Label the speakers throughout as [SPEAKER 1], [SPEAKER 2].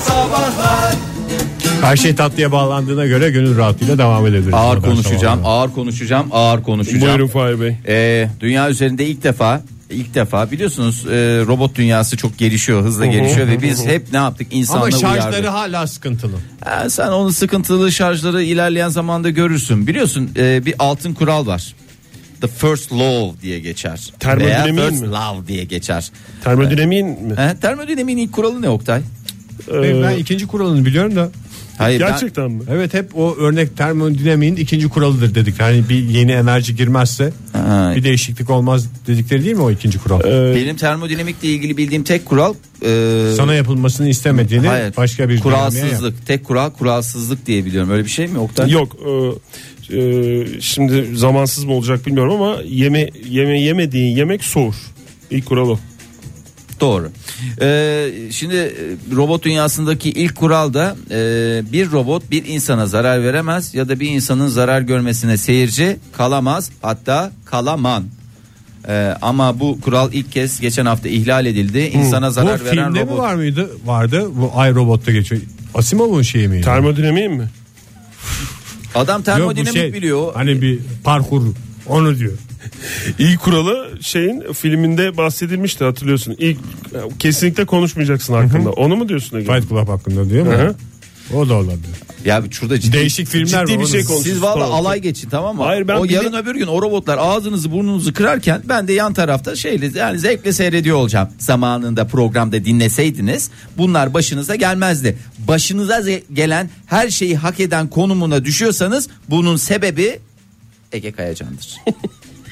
[SPEAKER 1] sabahlar
[SPEAKER 2] Her şey tatlıya bağlandığına göre gönül rahatlığıyla devam edebiliriz.
[SPEAKER 3] Ağır
[SPEAKER 2] Modern
[SPEAKER 3] konuşacağım,
[SPEAKER 2] Sabahlar.
[SPEAKER 3] ağır konuşacağım, ağır konuşacağım.
[SPEAKER 4] Buyurun Fahir Bey.
[SPEAKER 3] Ee, dünya üzerinde ilk defa ilk defa biliyorsunuz e, robot dünyası çok gelişiyor hızla gelişiyor ve biz hep ne yaptık
[SPEAKER 2] Ama
[SPEAKER 3] insanla
[SPEAKER 2] şarjları
[SPEAKER 3] uyardık.
[SPEAKER 2] hala sıkıntılı.
[SPEAKER 3] Ha, sen onun sıkıntılı şarjları ilerleyen zamanda görürsün. Biliyorsun e, bir altın kural var. The first law diye geçer. Veya
[SPEAKER 4] Termodinamiğin
[SPEAKER 3] first
[SPEAKER 4] mi?
[SPEAKER 3] love diye geçer.
[SPEAKER 4] Termodinamiğin mi?
[SPEAKER 3] Ha, termodinamiğin ilk kuralı ne Oktay?
[SPEAKER 4] Ee,
[SPEAKER 2] ben ikinci kuralını biliyorum da.
[SPEAKER 3] e, Hayır, ben-
[SPEAKER 4] Gerçekten mi?
[SPEAKER 2] Evet hep o örnek termodinamiğin ikinci kuralıdır dedik. Yani bir yeni enerji girmezse
[SPEAKER 3] Ha.
[SPEAKER 2] bir değişiklik olmaz dedikleri değil mi o ikinci kural?
[SPEAKER 4] Ee,
[SPEAKER 3] Benim termodinamikle ilgili bildiğim tek kural e,
[SPEAKER 2] Sana yapılmasını istemediğini
[SPEAKER 3] hayır,
[SPEAKER 2] başka bir dinamiğe yap.
[SPEAKER 3] kuralsızlık. Tek kural kuralsızlık diye biliyorum. Öyle bir şey mi Oktay?
[SPEAKER 4] Yok. e, e, şimdi zamansız mı olacak bilmiyorum ama yeme yeme yemediğin yemek soğur. İlk kural o.
[SPEAKER 3] Doğru. Ee, şimdi e, robot dünyasındaki ilk kural da e, bir robot bir insana zarar veremez ya da bir insanın zarar görmesine seyirci kalamaz hatta kalaman. Ee, ama bu kural ilk kez geçen hafta ihlal edildi. İnsana zarar
[SPEAKER 2] Bu
[SPEAKER 3] veren
[SPEAKER 2] filmde
[SPEAKER 3] robot.
[SPEAKER 2] mi var mıydı? Vardı. Bu Ay Robot'ta geçiyor. Asimov'un şeyi miydi?
[SPEAKER 4] Termodinamiğin mi?
[SPEAKER 3] Adam
[SPEAKER 2] Yok, bu
[SPEAKER 3] termodinamik
[SPEAKER 2] şey,
[SPEAKER 3] biliyor.
[SPEAKER 2] Hani bir parkur onu diyor.
[SPEAKER 4] İlk kuralı şeyin filminde bahsedilmişti hatırlıyorsun. İlk e, kesinlikle konuşmayacaksın hakkında. Onu mu diyorsun Ege?
[SPEAKER 2] Fight Club hakkında diyor mu?
[SPEAKER 4] Hı hı.
[SPEAKER 2] O da olabilir.
[SPEAKER 3] Ya şurada ciddi,
[SPEAKER 2] Değişik filmler
[SPEAKER 3] ciddi
[SPEAKER 2] var
[SPEAKER 3] bir
[SPEAKER 2] oğlum.
[SPEAKER 3] şey
[SPEAKER 4] konuşuyoruz.
[SPEAKER 3] Siz valla
[SPEAKER 4] Tamam.
[SPEAKER 3] alay geçin tamam mı?
[SPEAKER 4] Hayır, ben
[SPEAKER 3] o
[SPEAKER 4] bile-
[SPEAKER 3] yarın öbür gün o robotlar ağzınızı burnunuzu kırarken ben de yan tarafta şeyle yani zevkle seyrediyor olacağım. Zamanında programda dinleseydiniz bunlar başınıza gelmezdi. Başınıza ze- gelen her şeyi hak eden konumuna düşüyorsanız bunun sebebi Ege Kayacan'dır.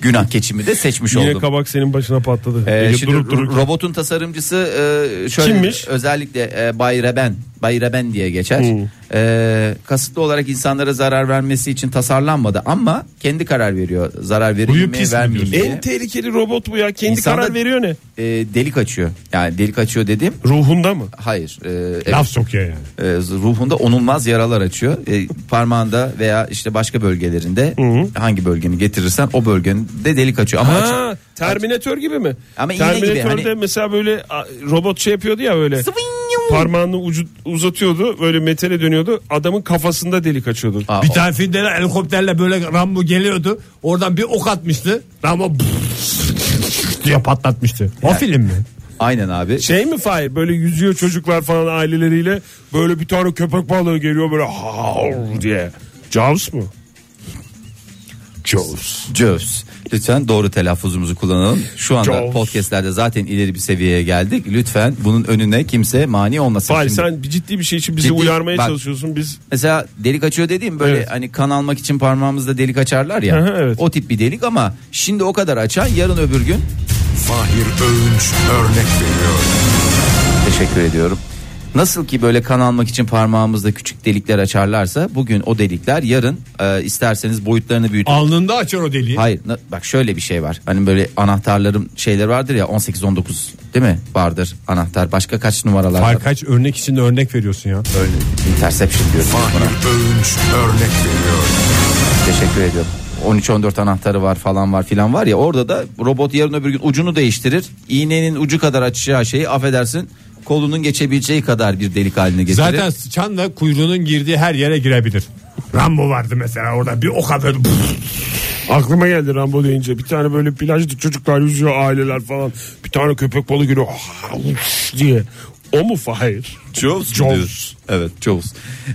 [SPEAKER 3] Günah keçimi de seçmiş
[SPEAKER 4] Yine
[SPEAKER 3] şey oldum.
[SPEAKER 4] kabak senin başına patladı.
[SPEAKER 3] Ee,
[SPEAKER 4] Ege
[SPEAKER 3] şimdi
[SPEAKER 4] durup dururken.
[SPEAKER 3] ro- robotun tasarımcısı e, şöyle
[SPEAKER 4] Kimmiş? Hmm.
[SPEAKER 3] özellikle e, Bay Reben, Bay Reben diye geçer. E, kasıtlı olarak insanlara zarar vermesi için tasarlanmadı ama kendi karar veriyor. Zarar
[SPEAKER 2] Huyu
[SPEAKER 3] verilmeye
[SPEAKER 2] pis mi
[SPEAKER 3] vermeyeyim diye.
[SPEAKER 4] En tehlikeli robot bu ya. Kendi
[SPEAKER 3] İnsanda-
[SPEAKER 4] karar veriyor ne?
[SPEAKER 3] E, delik açıyor. Yani delik açıyor dediğim
[SPEAKER 4] Ruhunda mı?
[SPEAKER 3] hayır. E,
[SPEAKER 2] Laf sokuyor yani.
[SPEAKER 3] e, ruhunda onulmaz yaralar açıyor. E, parmağında veya işte başka bölgelerinde hangi bölgeni getirirsen o bölgende delik açıyor ama açıyor.
[SPEAKER 4] Ha, Terminator gibi mi?
[SPEAKER 3] Ama iğne gibi,
[SPEAKER 4] Terminatör'de
[SPEAKER 3] hani-
[SPEAKER 4] mesela böyle a, robot şey yapıyordu ya böyle. Parmağını ucu, uzatıyordu böyle metale dönüyordu. Adamın kafasında delik açıyordu.
[SPEAKER 3] Aa,
[SPEAKER 2] Bir tane filmde helikopterle böyle Rambo geliyordu. Oradan bir ok atmıştı. Rambo diye patlatmıştı. O film mi?
[SPEAKER 3] Aynen abi.
[SPEAKER 4] Şey mi Fahir böyle yüzüyor çocuklar falan aileleriyle böyle bir tane köpek balığı geliyor böyle hav diye. Jaws mu?
[SPEAKER 3] Jaws. Lütfen doğru telaffuzumuzu kullanalım. Şu anda
[SPEAKER 4] Jaws.
[SPEAKER 3] podcastlerde zaten ileri bir seviyeye geldik. Lütfen bunun önüne kimse mani olmasın.
[SPEAKER 4] Fahir
[SPEAKER 3] Şimdi
[SPEAKER 4] sen bir ciddi bir şey için bizi
[SPEAKER 3] Ciddi-
[SPEAKER 4] uyarmaya
[SPEAKER 3] bak.
[SPEAKER 4] çalışıyorsun. Biz
[SPEAKER 3] Mesela delik açıyor dediğim böyle
[SPEAKER 4] Evet.
[SPEAKER 3] hani kan almak için parmağımızda delik açarlar ya.
[SPEAKER 4] Hı hı, evet.
[SPEAKER 3] O tip bir delik ama şimdi o kadar açan yarın öbür gün.
[SPEAKER 1] Fahir Öğünç örnek veriyor
[SPEAKER 3] Teşekkür ediyorum. Nasıl ki böyle kan almak için parmağımızda küçük delikler açarlarsa bugün o delikler yarın e, isterseniz boyutlarını büyütün.
[SPEAKER 2] Alnında açar o deliği.
[SPEAKER 3] Hayır na- bak şöyle bir şey var. Hani böyle anahtarların şeyleri vardır ya 18 19 değil mi? Vardır anahtar. Başka kaç numaralar var?
[SPEAKER 2] Hayır kaç örnek içinde örnek veriyorsun ya.
[SPEAKER 3] Öyle interception diyorum buna.
[SPEAKER 1] Fahir Öğünç örnek veriyor
[SPEAKER 3] Teşekkür ediyorum. 13 14 anahtarı var falan var filan var ya orada da robot yarın öbür gün ucunu değiştirir. İğnenin ucu kadar açacağı şeyi affedersin kolunun geçebileceği kadar bir delik haline getirir.
[SPEAKER 2] Zaten sıçanla kuyruğunun girdiği her yere girebilir. Rambo vardı mesela orada bir ok atıyordu.
[SPEAKER 4] aklıma geldi Rambo deyince bir tane böyle plajda çocuklar yüzüyor aileler falan. Bir tane köpek balığı geliyor hav diye. O mu Fahir?
[SPEAKER 3] Jaws.
[SPEAKER 4] Jaws.
[SPEAKER 3] Evet Jaws.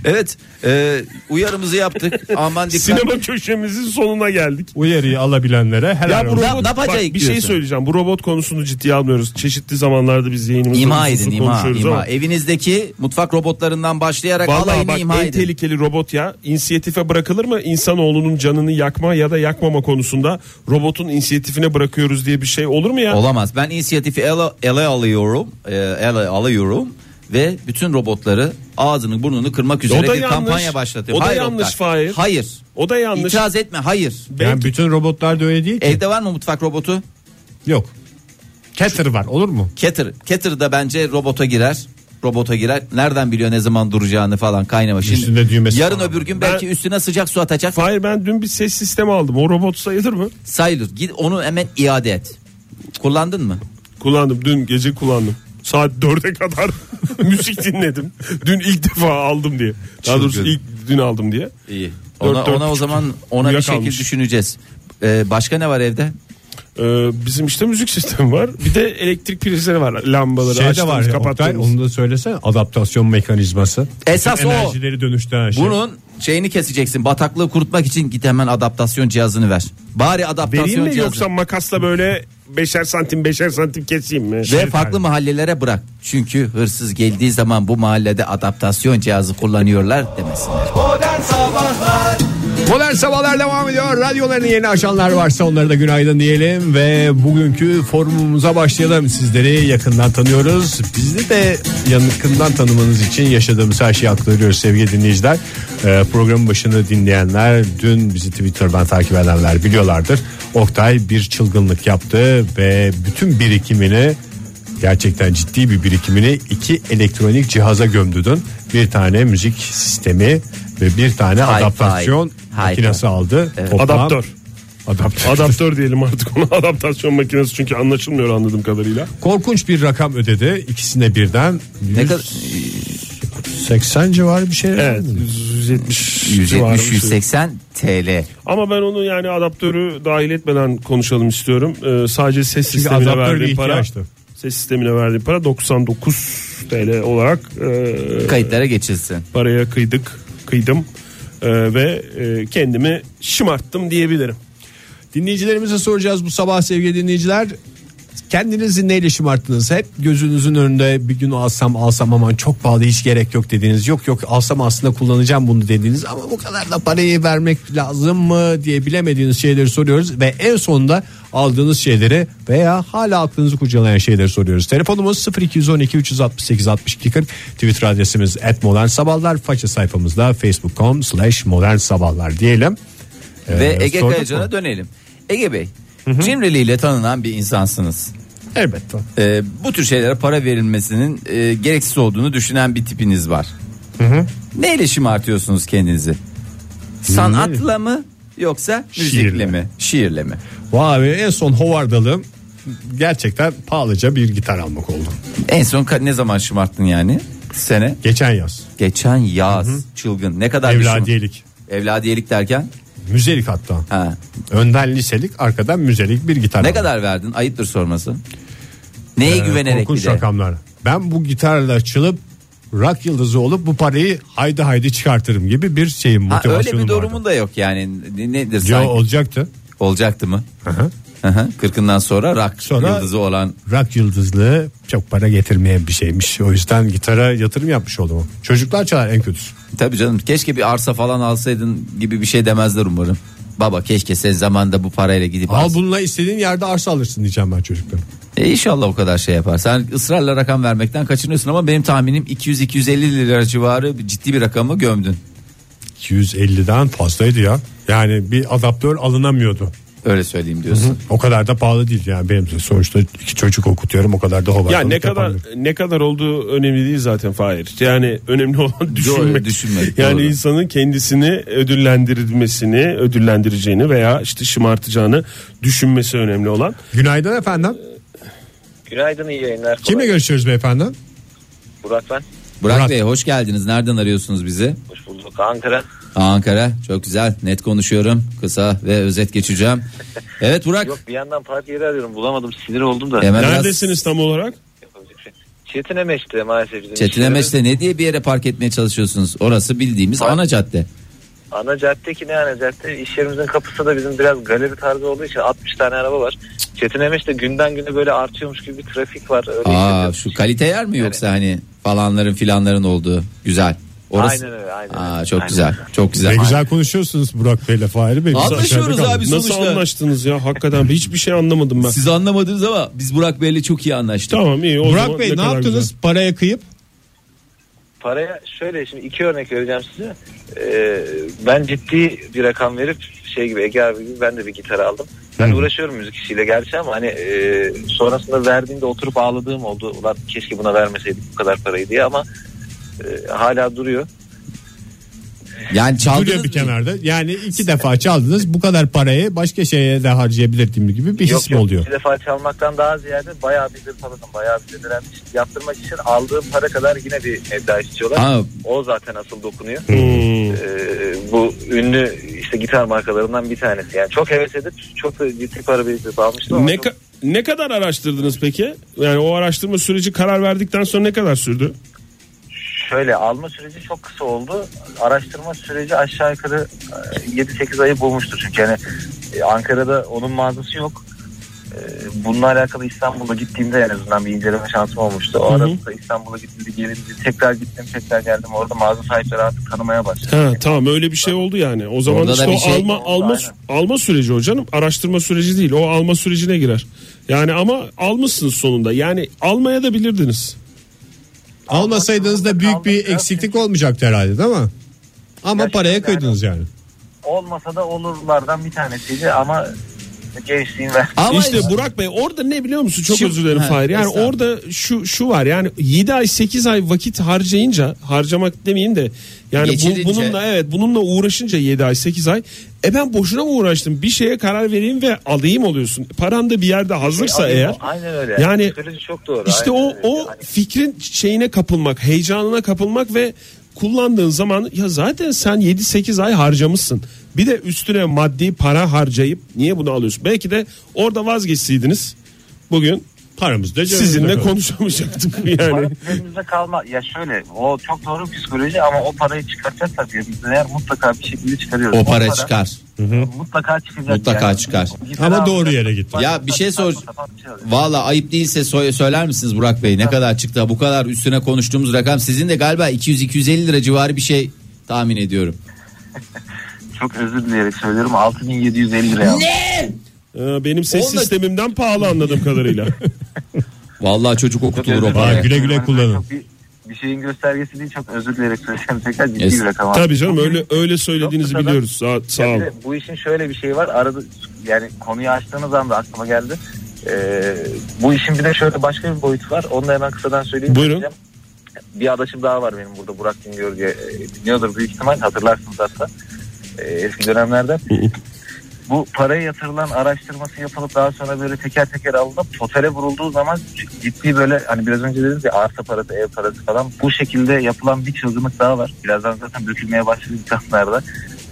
[SPEAKER 3] Evet e, uyarımızı yaptık. Aman dikkat.
[SPEAKER 4] Sinema köşemizin sonuna geldik.
[SPEAKER 2] Uyarıyı alabilenlere her
[SPEAKER 4] Ya
[SPEAKER 2] an
[SPEAKER 3] Ne-
[SPEAKER 4] bu robot,
[SPEAKER 3] ne yapacak
[SPEAKER 4] bak, bir şey
[SPEAKER 3] diyorsun?
[SPEAKER 4] söyleyeceğim. Bu robot konusunu ciddiye almıyoruz. Çeşitli zamanlarda biz yayınımızda
[SPEAKER 3] İma
[SPEAKER 4] bu hususu
[SPEAKER 3] edin ima
[SPEAKER 4] konuşuyoruz
[SPEAKER 3] ima.
[SPEAKER 4] ama-
[SPEAKER 3] Evinizdeki mutfak robotlarından başlayarak
[SPEAKER 4] Vallahi
[SPEAKER 3] alayını
[SPEAKER 4] bak
[SPEAKER 3] ima
[SPEAKER 4] en
[SPEAKER 3] edin.
[SPEAKER 4] tehlikeli robot ya. İnisiyatife bırakılır mı? İnsanoğlunun canını yakma ya da yakmama konusunda robotun inisiyatifine bırakıyoruz diye bir şey olur mu ya?
[SPEAKER 3] Olamaz. Ben inisiyatifi ele, ele alıyorum. e, ele alıyorum ve bütün robotları ağzını burnunu kırmak üzere
[SPEAKER 4] O da
[SPEAKER 3] bir
[SPEAKER 4] yanlış.
[SPEAKER 3] kampanya başlatıyorum.
[SPEAKER 4] O da
[SPEAKER 3] Hayır
[SPEAKER 4] yanlış,
[SPEAKER 3] Oktay.
[SPEAKER 4] Fahir.
[SPEAKER 3] Hayır.
[SPEAKER 4] O da yanlış.
[SPEAKER 3] İtiraz etme. Hayır.
[SPEAKER 2] Yani
[SPEAKER 4] Belki-
[SPEAKER 2] bütün robotlar da öyle değil ki.
[SPEAKER 3] Evde var mı mutfak robotu?
[SPEAKER 2] Yok. Ketter var olur mu?
[SPEAKER 3] Ketter. Ketter da bence robota girer. Robota girer. Nereden biliyor ne zaman duracağını falan kaynama. Şimdi
[SPEAKER 2] Üstünde düğmesi
[SPEAKER 3] yarın
[SPEAKER 2] falan
[SPEAKER 3] öbür gün
[SPEAKER 4] Ben-
[SPEAKER 3] belki üstüne sıcak su atacak.
[SPEAKER 4] Hayır ben dün bir ses sistemi aldım. O robot sayılır mı?
[SPEAKER 3] Sayılır. Git onu hemen iade et. Kullandın mı?
[SPEAKER 4] Kullandım. Dün gece kullandım. Saat 4'e kadar müzik dinledim. Dün ilk defa aldım diye. Daha doğrusu
[SPEAKER 3] Çılgın.
[SPEAKER 4] ilk dün aldım diye.
[SPEAKER 3] İyi.
[SPEAKER 4] Dört,
[SPEAKER 3] Ona,
[SPEAKER 4] dört
[SPEAKER 3] ona o
[SPEAKER 4] buçuk.
[SPEAKER 3] zaman ona bir şekil
[SPEAKER 4] Uyuyakalmış.
[SPEAKER 3] düşüneceğiz. Ee, başka ne var evde?
[SPEAKER 4] Ee, bizim işte müzik sistemi var. Bir de elektrik prizleri var. Lambaları
[SPEAKER 2] Şey de
[SPEAKER 4] açtığımız,
[SPEAKER 2] var ya, Oktay,
[SPEAKER 4] kapattığımız.
[SPEAKER 2] onu da söylesene adaptasyon mekanizması.
[SPEAKER 3] Esas o.
[SPEAKER 2] Enerjileri dönüştüren şey.
[SPEAKER 3] Bunun şeyini keseceksin. Bataklığı kurutmak için git hemen adaptasyon cihazını ver. Bari adaptasyon
[SPEAKER 4] Vereyim mi
[SPEAKER 3] cihazı.
[SPEAKER 4] yoksa makasla böyle beşer santim beşer santim keseyim mi?
[SPEAKER 3] Ve farklı mahallelere bırak. Çünkü hırsız geldiği zaman bu mahallede adaptasyon cihazı kullanıyorlar demesinler.
[SPEAKER 2] Modern sabahlar devam ediyor. Radyolarını yeni açanlar varsa onlara da günaydın diyelim ve bugünkü forumumuza başlayalım. Sizleri yakından tanıyoruz. Bizi de yakından tanımanız için yaşadığımız her şeyi aktarıyoruz sevgili dinleyiciler. Ee, programın başını dinleyenler, dün bizi Twitter'dan takip edenler biliyorlardır. Oktay bir çılgınlık yaptı ve bütün birikimini Gerçekten ciddi bir birikimini iki elektronik cihaza gömdü dün. Bir tane müzik sistemi ve bir tane adaptasyon
[SPEAKER 3] hi, hi.
[SPEAKER 2] makinesi aldı. Toplam-
[SPEAKER 4] Adaptör.
[SPEAKER 2] Adaptör.
[SPEAKER 4] Adaptör diyelim artık ona. Adaptasyon makinesi çünkü anlaşılmıyor anladığım kadarıyla.
[SPEAKER 2] Korkunç bir rakam ödedi ikisine birden.
[SPEAKER 3] Ne kadar
[SPEAKER 2] 180 civarı bir şey.
[SPEAKER 4] Evet.
[SPEAKER 2] ödedi mi?
[SPEAKER 4] 170 civarı bir
[SPEAKER 3] 170
[SPEAKER 4] şey.
[SPEAKER 3] 180 TL.
[SPEAKER 4] Ama ben onu yani adaptörü dahil etmeden konuşalım istiyorum. Ee, sadece ses
[SPEAKER 2] Çünkü
[SPEAKER 4] sistemine
[SPEAKER 2] adaptör bir
[SPEAKER 4] verdiği para
[SPEAKER 2] ihtiyaçtı.
[SPEAKER 4] ses sistemine verdiği para 99 TL olarak e,
[SPEAKER 3] Kayıtlara geçilsin.
[SPEAKER 4] paraya kıydık, kıydım E, ve e, kendimi şımarttım diyebilirim.
[SPEAKER 2] Dinleyicilerimize soracağız bu sabah sevgili dinleyiciler. Kendinizi neyle şımarttınız? Hep gözünüzün önünde bir gün alsam alsam aman çok pahalı hiç gerek yok dediğiniz. Yok yok alsam aslında kullanacağım bunu dediğiniz ama bu kadar da parayı vermek lazım mı diye bilemediğiniz şeyleri soruyoruz. Ve en sonunda aldığınız şeyleri veya hala aklınızı kurcalayan şeyleri soruyoruz. Telefonumuz 0212 368 62 40 Twitter adresimiz et modern sabahlar. Faça sayfamızda facebook.com slash modern sabahlar diyelim.
[SPEAKER 3] Ve Ege
[SPEAKER 2] sorduk
[SPEAKER 3] Kayacan'a
[SPEAKER 2] mu?
[SPEAKER 3] dönelim. Ege Bey, cimriliğiyle tanınan bir insansınız.
[SPEAKER 2] Elbette.
[SPEAKER 3] Ee, bu tür şeylere para verilmesinin e, gereksiz olduğunu düşünen bir tipiniz var. Neyle şımartıyorsunuz kendinizi? Sanatla mı yoksa müzikle
[SPEAKER 2] Şiirle.
[SPEAKER 3] mi? Şiirle mi?
[SPEAKER 2] Vay be en son hovardalığım gerçekten pahalıca bir gitar almak oldu.
[SPEAKER 3] En son ka- ne zaman şımarttın yani? Sene?
[SPEAKER 2] Geçen yaz.
[SPEAKER 3] Geçen yaz. Çılgın. Ne kadar bir
[SPEAKER 2] Evladiyelik.
[SPEAKER 3] şımart- Evladiyelik derken?
[SPEAKER 2] Müzelik hatta.
[SPEAKER 3] Ha.
[SPEAKER 2] Önden liselik arkadan müzelik bir gitar
[SPEAKER 3] Ne
[SPEAKER 2] aldım.
[SPEAKER 3] kadar verdin? Ayıptır sorması. Neye güvenerek bir
[SPEAKER 2] Ee, Korkunç
[SPEAKER 3] de?
[SPEAKER 2] rakamlar. Ben bu gitarla açılıp rock yıldızı olup bu parayı haydi haydi çıkartırım gibi bir şeyim
[SPEAKER 3] Ha,
[SPEAKER 2] motivasyonum
[SPEAKER 3] öyle bir durumun
[SPEAKER 2] vardı.
[SPEAKER 3] da yok yani. Ne- Nedir
[SPEAKER 2] Yo,
[SPEAKER 3] sanki?
[SPEAKER 2] olacaktı.
[SPEAKER 3] Olacaktı mı?
[SPEAKER 2] hı.
[SPEAKER 3] Hı hı. Kırkından sonra rock
[SPEAKER 2] Sonra-
[SPEAKER 3] yıldızı olan
[SPEAKER 2] Rock yıldızlığı çok para getirmeyen bir şeymiş. O yüzden gitara yatırım yapmış oldum. Çocuklar çalar en kötüsü.
[SPEAKER 3] Tabii canım keşke bir arsa falan alsaydın gibi bir şey demezler umarım. Baba keşke sen zamanda bu parayla gidip al.
[SPEAKER 2] Al bununla istediğin yerde arsa alırsın diyeceğim ben çocuklara.
[SPEAKER 3] E inşallah o kadar şey yapar. Sen ısrarla rakam vermekten kaçınıyorsun ama benim tahminim 200-250 lira civarı bir- ciddi bir rakamı gömdün.
[SPEAKER 2] 250'den fazlaydı ya. Yani bir adaptör alınamıyordu.
[SPEAKER 3] Öyle söyleyeyim diyorsun.
[SPEAKER 2] O kadar da pahalı değil yani benim de sonuçta iki çocuk okutuyorum o kadar da hovardalık
[SPEAKER 4] Ya ne kadar
[SPEAKER 2] yapamıyorum.
[SPEAKER 4] ne kadar olduğu önemli değil zaten Fahir. Yani önemli olan
[SPEAKER 3] Doğru,
[SPEAKER 4] düşünmek.
[SPEAKER 3] düşünmek,
[SPEAKER 4] yani
[SPEAKER 3] doğru.
[SPEAKER 4] insanın kendisini ödüllendirilmesini, ödüllendireceğini veya işte şımartacağını düşünmesi önemli olan.
[SPEAKER 2] Günaydın efendim.
[SPEAKER 5] Günaydın iyi yayınlar. Kolay
[SPEAKER 2] Kimle görüşüyoruz beyefendi?
[SPEAKER 5] Burak ben.
[SPEAKER 3] Burak,
[SPEAKER 2] Murat.
[SPEAKER 3] Bey hoş geldiniz. Nereden arıyorsunuz bizi?
[SPEAKER 5] Hoş bulduk Ankara.
[SPEAKER 3] Aa, Ankara. Çok güzel. Net konuşuyorum. Kısa ve özet geçeceğim. Evet Burak.
[SPEAKER 5] Yok bir yandan parti yeri arıyorum bulamadım sinir oldum da.
[SPEAKER 3] Hemen biraz-
[SPEAKER 4] Neredesiniz tam olarak?
[SPEAKER 5] Yapabilecek şey. Çetin Emeç'te maalesef bizim
[SPEAKER 3] Çetin
[SPEAKER 5] işlerimiz.
[SPEAKER 3] Emeç'te ne diye bir yere park etmeye çalışıyorsunuz? Orası bildiğimiz
[SPEAKER 5] Park.
[SPEAKER 3] ana cadde.
[SPEAKER 5] Ana cadde ki ne ana cadde iş yerimizin kapısı da bizim biraz galeri tarzı olduğu için 60 tane araba var. Çetin Emeç'te günden güne böyle artıyormuş gibi bir trafik var. Öyle
[SPEAKER 3] Aa
[SPEAKER 5] hissediyorum.
[SPEAKER 3] şu kalite yer mi yoksa hani falanların filanların olduğu güzel. Orası.
[SPEAKER 5] Aynen öyle, aynen
[SPEAKER 3] Aa,
[SPEAKER 5] öyle.
[SPEAKER 3] çok
[SPEAKER 5] Aynen
[SPEAKER 3] güzel.
[SPEAKER 5] öyle.
[SPEAKER 3] Çok güzel.
[SPEAKER 2] Ne güzel konuşuyorsunuz Burak Bey'le Fahri Bey. Biz
[SPEAKER 3] Anlaşıyoruz
[SPEAKER 2] aşağıda kaldık.
[SPEAKER 3] abi.
[SPEAKER 4] Nasıl
[SPEAKER 3] sonuçta-
[SPEAKER 4] anlaştınız ya? Hakikaten hiçbir şey anlamadım ben.
[SPEAKER 3] Siz anlamadınız ama biz Burak Bey'le çok iyi anlaştık.
[SPEAKER 4] Tamam iyi. o zaman
[SPEAKER 2] Burak Bey ne,
[SPEAKER 4] kadar
[SPEAKER 2] yaptınız
[SPEAKER 4] güzel.
[SPEAKER 2] paraya kıyıp?
[SPEAKER 5] Paraya şöyle şimdi iki örnek vereceğim size. Ee, ben ciddi bir rakam verip şey gibi Ege abi gibi ben de bir gitar aldım. Ben uğraşıyorum müzik işiyle gerçi ama hani e, sonrasında verdiğimde oturup ağladığım oldu. Ulan keşke buna vermeseydik bu kadar parayı diye ama e, hala duruyor.
[SPEAKER 3] Yani çaldınız
[SPEAKER 2] Duruyor bir kenarda. Yani iki defa çaldınız. Bu kadar parayı başka şeye de harcayabilirdim gibi bir his mi oluyor?
[SPEAKER 5] Bir defa çalmaktan daha ziyade bayağı bir hırpaladım. Bayağı bir direndim. Yaptırmak için aldığım para kadar yine bir meblağ istiyorlar.
[SPEAKER 3] Aa.
[SPEAKER 5] O zaten asıl dokunuyor.
[SPEAKER 4] Hmm.
[SPEAKER 5] Ee, bu ünlü işte gitar markalarından bir tanesi. Yani çok heves edip çok da ciddi para biriktirip almıştım. ama
[SPEAKER 4] Ne,
[SPEAKER 5] çok-
[SPEAKER 4] ka- ne kadar araştırdınız peki? Yani o araştırma süreci karar verdikten sonra ne kadar sürdü?
[SPEAKER 5] Şöyle alma süreci çok kısa oldu. Araştırma süreci aşağı yukarı e, 7-8 ayı bulmuştur. Çünkü yani e, Ankara'da onun mağazası yok. E, Bununla alakalı İstanbul'a gittiğimde en azından bir inceleme şansım olmuştu. O arada da İstanbul'a gittiğimde gelince tekrar gittim tekrar geldim. Orada mağaza sahipleri artık tanımaya başladı.
[SPEAKER 4] Ha, tamam öyle bir şey oldu yani. O zaman
[SPEAKER 3] Orada da
[SPEAKER 4] işte
[SPEAKER 3] bir
[SPEAKER 4] o
[SPEAKER 3] şey-
[SPEAKER 4] alma alma alma süreci o canım. Araştırma süreci değil. O alma sürecine girer. Yani ama almışsınız sonunda. Yani almaya da bilirdiniz.
[SPEAKER 2] Almasaydınız da büyük bir eksiklik olmayacaktı herhalde değil mi? Ama
[SPEAKER 5] Ya
[SPEAKER 2] paraya
[SPEAKER 5] şimdi yani-
[SPEAKER 2] kıydınız yani.
[SPEAKER 5] Olmasa da olurlardan bir tanesiydi ama gençliğin ver.
[SPEAKER 3] Ama
[SPEAKER 4] işte Burak Bey orada ne biliyor musun? Çok
[SPEAKER 3] Şu-
[SPEAKER 4] özür dilerim
[SPEAKER 3] Ha,
[SPEAKER 4] Fahir. Yani
[SPEAKER 3] estağfurullah.
[SPEAKER 4] orada şu şu var. Yani 7 ay 8 ay vakit harcayınca harcamak demeyeyim de yani
[SPEAKER 3] Geçirince.
[SPEAKER 4] bu, bununla evet bununla uğraşınca 7 ay 8 ay e ben boşuna mı uğraştım? Bir şeye karar vereyim ve alayım oluyorsun. Paran da bir yerde
[SPEAKER 3] Şey
[SPEAKER 4] hazırsa eğer.
[SPEAKER 5] Aynen öyle.
[SPEAKER 4] Yani
[SPEAKER 5] süreci çok doğru.
[SPEAKER 4] İşte
[SPEAKER 5] Aynen
[SPEAKER 4] o
[SPEAKER 5] öyle.
[SPEAKER 4] o
[SPEAKER 5] Hani-
[SPEAKER 4] fikrin şeyine kapılmak, heyecanına kapılmak ve kullandığın zaman ya zaten sen 7-8 ay harcamışsın. Bir de üstüne maddi para harcayıp niye bunu alıyorsun? Belki de orada vazgeçseydiniz bugün
[SPEAKER 2] Paramız da cebimizde
[SPEAKER 4] sizinle
[SPEAKER 2] kalıyor.
[SPEAKER 4] konuşamayacaktık yani.
[SPEAKER 5] Para cebimizde kalma. Ya şöyle o çok doğru psikoloji ama o parayı çıkartacaksak cebimizden eğer mutlaka bir şekilde çıkarıyoruz.
[SPEAKER 3] o para çıkar.
[SPEAKER 5] Mutlaka çıkacak.
[SPEAKER 3] Mutlaka çıkar.
[SPEAKER 5] Gitar
[SPEAKER 2] Ama
[SPEAKER 5] alacak,
[SPEAKER 2] doğru yere gitti.
[SPEAKER 5] başka
[SPEAKER 3] Ya bir şey
[SPEAKER 5] saçma
[SPEAKER 3] sor-
[SPEAKER 5] sapan bir şey alacak.
[SPEAKER 3] Valla ayıp değilse so- söyler misiniz Burak Bey ne kadar çıktı bu kadar üstüne konuştuğumuz rakam sizin de galiba 200-250 lira civarı bir şey tahmin ediyorum.
[SPEAKER 5] Çok özür dileyerek söylüyorum 6750 liraya aldım.
[SPEAKER 4] Ee, Benim ses
[SPEAKER 3] Onunla-
[SPEAKER 4] sistemimden pahalı anladığım kadarıyla.
[SPEAKER 3] Valla çocuk okutulur o
[SPEAKER 2] Vay,
[SPEAKER 3] paraya.
[SPEAKER 2] güle güle
[SPEAKER 5] Çok
[SPEAKER 2] kullanın.
[SPEAKER 5] Bir, bir şeyin göstergesi değil çok özür dileyerek söyleyeceğim tekrar ciddi
[SPEAKER 3] Es-
[SPEAKER 5] bir rakam. aldım.
[SPEAKER 4] Tabii canım
[SPEAKER 5] Bugün-
[SPEAKER 4] öyle öyle söylediğinizi
[SPEAKER 5] Çok kısa da-
[SPEAKER 4] biliyoruz. Sağ, sağ
[SPEAKER 5] Ya
[SPEAKER 4] ol.
[SPEAKER 5] bir de bu işin şöyle bir şeyi var. Arada yani konuyu açtığınız anda aklıma geldi. Ee, bu işin bir de şöyle başka bir boyutu var. Onu da hemen kısadan söyleyeyim.
[SPEAKER 4] Buyurun.
[SPEAKER 5] Bir adaşım daha var benim burada Burak Güngör diye. Ee, Dinliyordur büyük ihtimal hatırlarsınız hatta. Ee, eski dönemlerde. bu paraya yatırılan araştırması yapılıp daha sonra böyle teker teker alınıp totale vurulduğu zaman ciddi böyle hani biraz önce dediniz ya arsa parası ev parası falan bu şekilde yapılan bir çılgınlık daha var. Birazdan zaten dökülmeye başladı insanlarda.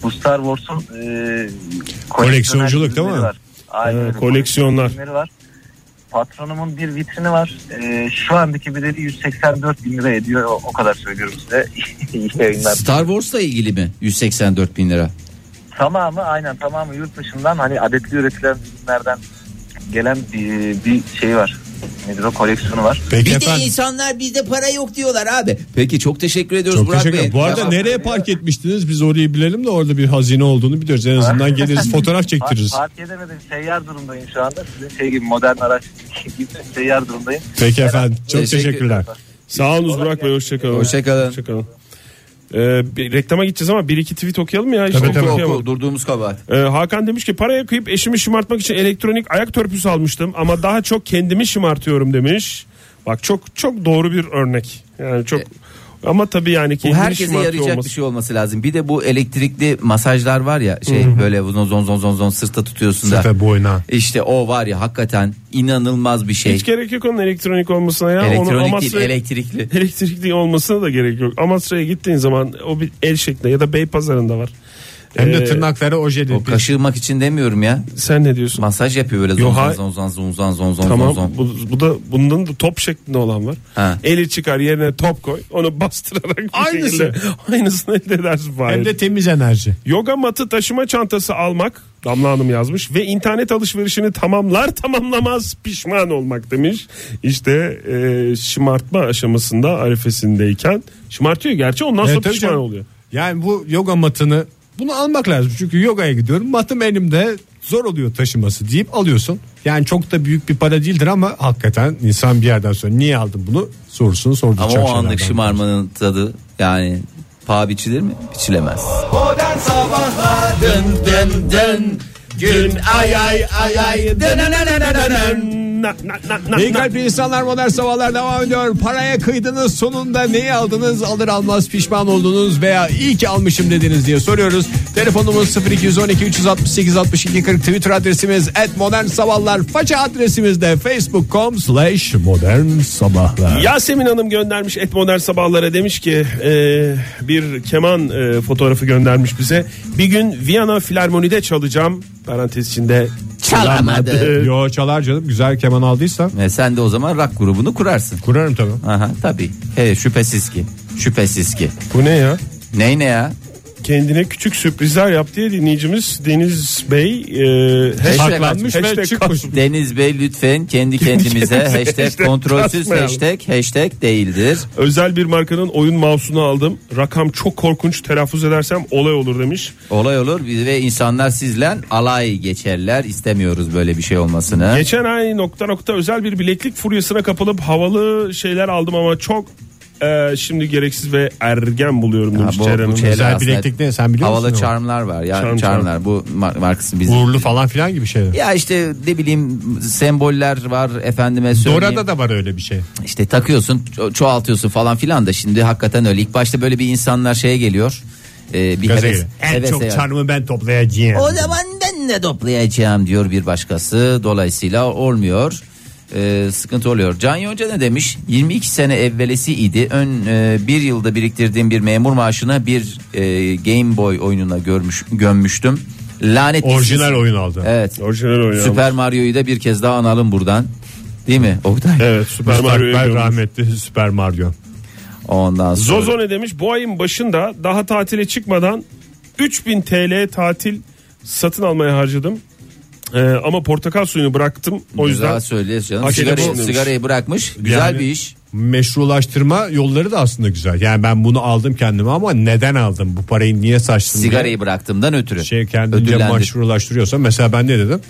[SPEAKER 5] Bu Star Wars'un e,
[SPEAKER 2] Koleksiyonculuk değil mi?
[SPEAKER 5] ürünleri var. Aynen.
[SPEAKER 4] Ha,
[SPEAKER 5] öyle.
[SPEAKER 4] koleksiyonlar.
[SPEAKER 5] Ürünleri var. Patronumun bir vitrini var. E, şu andaki bedeli 184 bin lira ediyor. O, o kadar söylüyorum size. İyi yayınlar.
[SPEAKER 3] Star Wars'la ilgili mi 184 bin lira?
[SPEAKER 5] Tamamı aynen tamamı yurt dışından hani adetli üretilen ürünlerden gelen bir, bir şey var. Nedir o koleksiyonu var.
[SPEAKER 2] Peki
[SPEAKER 3] Bir de
[SPEAKER 2] efendim.
[SPEAKER 3] insanlar bizde para yok diyorlar abi. Peki çok teşekkür ediyoruz
[SPEAKER 2] Çok
[SPEAKER 3] Burak
[SPEAKER 2] teşekkür
[SPEAKER 3] Bey. e,
[SPEAKER 2] ederim. Bu arada
[SPEAKER 3] Ya-
[SPEAKER 2] nereye park etmiştiniz? Biz orayı bilelim de orada bir hazine olduğunu biliyoruz. En azından geliriz fotoğraf
[SPEAKER 5] Fark,
[SPEAKER 2] çektiririz.
[SPEAKER 5] fark edemedim seyyar durumdayım şu anda. Sizin şey gibi modern araç gibi seyyar durumdayım.
[SPEAKER 2] Peki efendim. Çok
[SPEAKER 3] Teşekkür-
[SPEAKER 2] teşekkürler.
[SPEAKER 4] Sağ olunuz Burak Bey hoşçakalın.
[SPEAKER 3] Hoşçakalın.
[SPEAKER 4] Hoşçakalın. Ee, bir reklama gideceğiz ama bir iki tweet okuyalım mı ya. Hiç
[SPEAKER 2] Tabii,
[SPEAKER 4] çok
[SPEAKER 2] tabii.
[SPEAKER 4] okuyamadım.
[SPEAKER 3] Oku, durduğumuz kabahat.
[SPEAKER 4] Ee, Hakan demiş ki paraya kıyıp eşimi şımartmak için elektronik ayak törpüsü almıştım ama daha çok kendimi şımartıyorum demiş. Bak çok çok doğru bir örnek. Yani çok ama tabii yani
[SPEAKER 3] Bu
[SPEAKER 4] kendini
[SPEAKER 3] herkese
[SPEAKER 4] şımartıyor
[SPEAKER 3] yarayacak
[SPEAKER 4] olması.
[SPEAKER 3] bir şey olması lazım. Bir de bu elektrikli masajlar var ya şey böyle zon zon zon zon zon sırta tutuyorsun da.
[SPEAKER 2] Sırta, boyna.
[SPEAKER 3] İşte o var ya hakikaten inanılmaz bir şey.
[SPEAKER 4] Hiç gerek yok onun elektronik olmasına ya. Onu
[SPEAKER 3] Elektronik değil
[SPEAKER 4] Amasra'ya-
[SPEAKER 3] elektrikli.
[SPEAKER 4] elektrikli olmasına da gerek yok. Amasra'ya gittiğin zaman o bir el şeklinde ya da Beypazarı'nda var.
[SPEAKER 2] Hem de
[SPEAKER 4] Ee,
[SPEAKER 2] tırnakları ojeli.
[SPEAKER 3] O kaşırmak için demiyorum ya.
[SPEAKER 4] Sen ne diyorsun?
[SPEAKER 3] Masaj yapıyor böyle
[SPEAKER 4] Yo,
[SPEAKER 3] zon zon
[SPEAKER 4] hay-
[SPEAKER 3] zon zon zon zon zon zon
[SPEAKER 4] Tamam
[SPEAKER 3] zon.
[SPEAKER 4] bu, bu da bundan da top şeklinde olan var.
[SPEAKER 3] Ha.
[SPEAKER 4] Eli çıkar yerine top koy onu bastırarak bir
[SPEAKER 2] Aynısı.
[SPEAKER 4] şekilde aynısını elde edersin. Fahir.
[SPEAKER 2] Hem de temiz enerji.
[SPEAKER 4] Yoga matı taşıma çantası almak Damla Hanım yazmış ve internet alışverişini tamamlar tamamlamaz pişman olmak demiş. İşte e, şımartma aşamasında arifesindeyken şımartıyor gerçi ondan sonra
[SPEAKER 2] Evet, Ee, tabii
[SPEAKER 4] pişman
[SPEAKER 2] canım.
[SPEAKER 4] şey oluyor.
[SPEAKER 2] Yani bu yoga matını bunu almak lazım. Çünkü yogaya gidiyorum. Matım elimde zor oluyor taşıması deyip alıyorsun. Yani çok da büyük bir para değildir ama hakikaten insan bir yerden sonra niye aldın bunu sorusunu sorduracak
[SPEAKER 3] Ama o anlık
[SPEAKER 2] şeylerden.
[SPEAKER 3] şımarmanın tadı yani paha biçilir mi? Biçilemez.
[SPEAKER 4] Gün ay ay ay ay na, na, na, na,
[SPEAKER 2] İyi
[SPEAKER 4] na.
[SPEAKER 2] kalpli insanlar modern sabahlar devam ediyor. Paraya kıydınız sonunda neyi aldınız alır almaz pişman oldunuz veya iyi ki almışım dediniz diye soruyoruz. Telefonumuz 0212 368 62 40 Twitter adresimiz et modern sabahlar. Faça adresimiz de facebook.com slash modern sabahlar.
[SPEAKER 4] Yasemin Hanım göndermiş et modern sabahlara demiş ki e, bir keman e, fotoğrafı göndermiş bize. Bir gün Viyana Filarmoni'de çalacağım. Parantez içinde
[SPEAKER 3] Çalamadı.
[SPEAKER 2] Yo çalar canım güzel keman aldıysa.
[SPEAKER 3] E, sen de o zaman rock grubunu kurarsın.
[SPEAKER 2] Kurarım tabii.
[SPEAKER 3] Aha tabii. He, şüphesiz ki. Şüphesiz ki.
[SPEAKER 4] Bu ne ya?
[SPEAKER 3] Ney ne ya?
[SPEAKER 4] Kendine küçük sürprizler yaptı diye dinleyicimiz Deniz Bey e,
[SPEAKER 2] şey
[SPEAKER 3] Saklanmış
[SPEAKER 4] hashtag-
[SPEAKER 2] ve
[SPEAKER 4] hashtag
[SPEAKER 2] çıkmış.
[SPEAKER 4] kas-
[SPEAKER 3] Deniz Bey lütfen kendi kendimize hashtag kontrolsüz
[SPEAKER 4] kasmayalım.
[SPEAKER 3] hashtag hashtag değildir.
[SPEAKER 4] Özel bir markanın oyun mouse'unu aldım. Rakam çok korkunç telaffuz edersem olay olur demiş.
[SPEAKER 3] Olay olur biz ve insanlar sizle alay geçerler. İstemiyoruz böyle bir şey olmasını.
[SPEAKER 4] Geçen ay nokta nokta özel bir bileklik furyasına kapılıp havalı şeyler aldım ama çok e, şimdi gereksiz ve ergen buluyorum
[SPEAKER 3] Ha,
[SPEAKER 4] demiş
[SPEAKER 3] bu-
[SPEAKER 4] Ceren
[SPEAKER 3] bu
[SPEAKER 4] Hanım.
[SPEAKER 3] şeyler
[SPEAKER 2] özel
[SPEAKER 3] aslında
[SPEAKER 2] bileklik ne, sen biliyor
[SPEAKER 3] Havalı
[SPEAKER 2] musun onu?
[SPEAKER 3] charmlar var. Yani
[SPEAKER 4] Charm,
[SPEAKER 3] charmlar bu mar- markası bizim.
[SPEAKER 2] Uğurlu falan filan gibi şeyler.
[SPEAKER 3] Ya işte ne bileyim semboller var efendime söyleyeyim.
[SPEAKER 2] Dora'da da var öyle bir şey.
[SPEAKER 3] İşte takıyorsun ço- çoğaltıyorsun falan filan da şimdi hakikaten öyle. İlk başta böyle bir insanlar şeye geliyor. Ee, bir
[SPEAKER 2] Gaza
[SPEAKER 3] heves,
[SPEAKER 2] gelin. En
[SPEAKER 3] hevese
[SPEAKER 2] çok
[SPEAKER 3] yani.
[SPEAKER 2] çarmı ben toplayacağım.
[SPEAKER 3] O zaman ben de toplayacağım diyor bir başkası. Dolayısıyla olmuyor. Ee, sıkıntı oluyor. Can Yonca ne demiş? 22 sene evvelesi idi. Ön e, bir yılda biriktirdiğim bir memur maaşına bir e, Game Boy oyununa görmüş gömmüştüm. Lanet
[SPEAKER 2] Orijinal
[SPEAKER 3] olsun.
[SPEAKER 2] oyun aldı.
[SPEAKER 3] Evet.
[SPEAKER 4] Orijinal oyun
[SPEAKER 3] Süper Mario'yu da bir kez daha analım buradan. Değil mi? Oktay.
[SPEAKER 4] Evet Süper Mario'ya
[SPEAKER 2] Müstakbel
[SPEAKER 4] gömmüş.
[SPEAKER 2] rahmetli Süper Mario.
[SPEAKER 3] Ondan sonra.
[SPEAKER 4] Zozo ne demiş? Bu ayın başında daha tatile çıkmadan 3000 TL tatil satın almaya harcadım. E, ama portakal suyunu bıraktım. O yüzden
[SPEAKER 3] Güzel söylüyorsun canım.
[SPEAKER 4] Hakikaten
[SPEAKER 3] Sigarayı,
[SPEAKER 4] bulunmuş.
[SPEAKER 3] sigarayı bırakmış. Güzel
[SPEAKER 2] Yani-
[SPEAKER 3] bir iş.
[SPEAKER 2] Meşrulaştırma yolları da aslında güzel. Yani ben bunu aldım kendime ama neden aldım? Bu parayı niye saçtım? diye
[SPEAKER 3] Sigarayı bıraktığımdan ötürü.
[SPEAKER 2] şey kendince
[SPEAKER 3] Ödüllendir-
[SPEAKER 2] meşrulaştırıyorsa mesela ben ne dedim?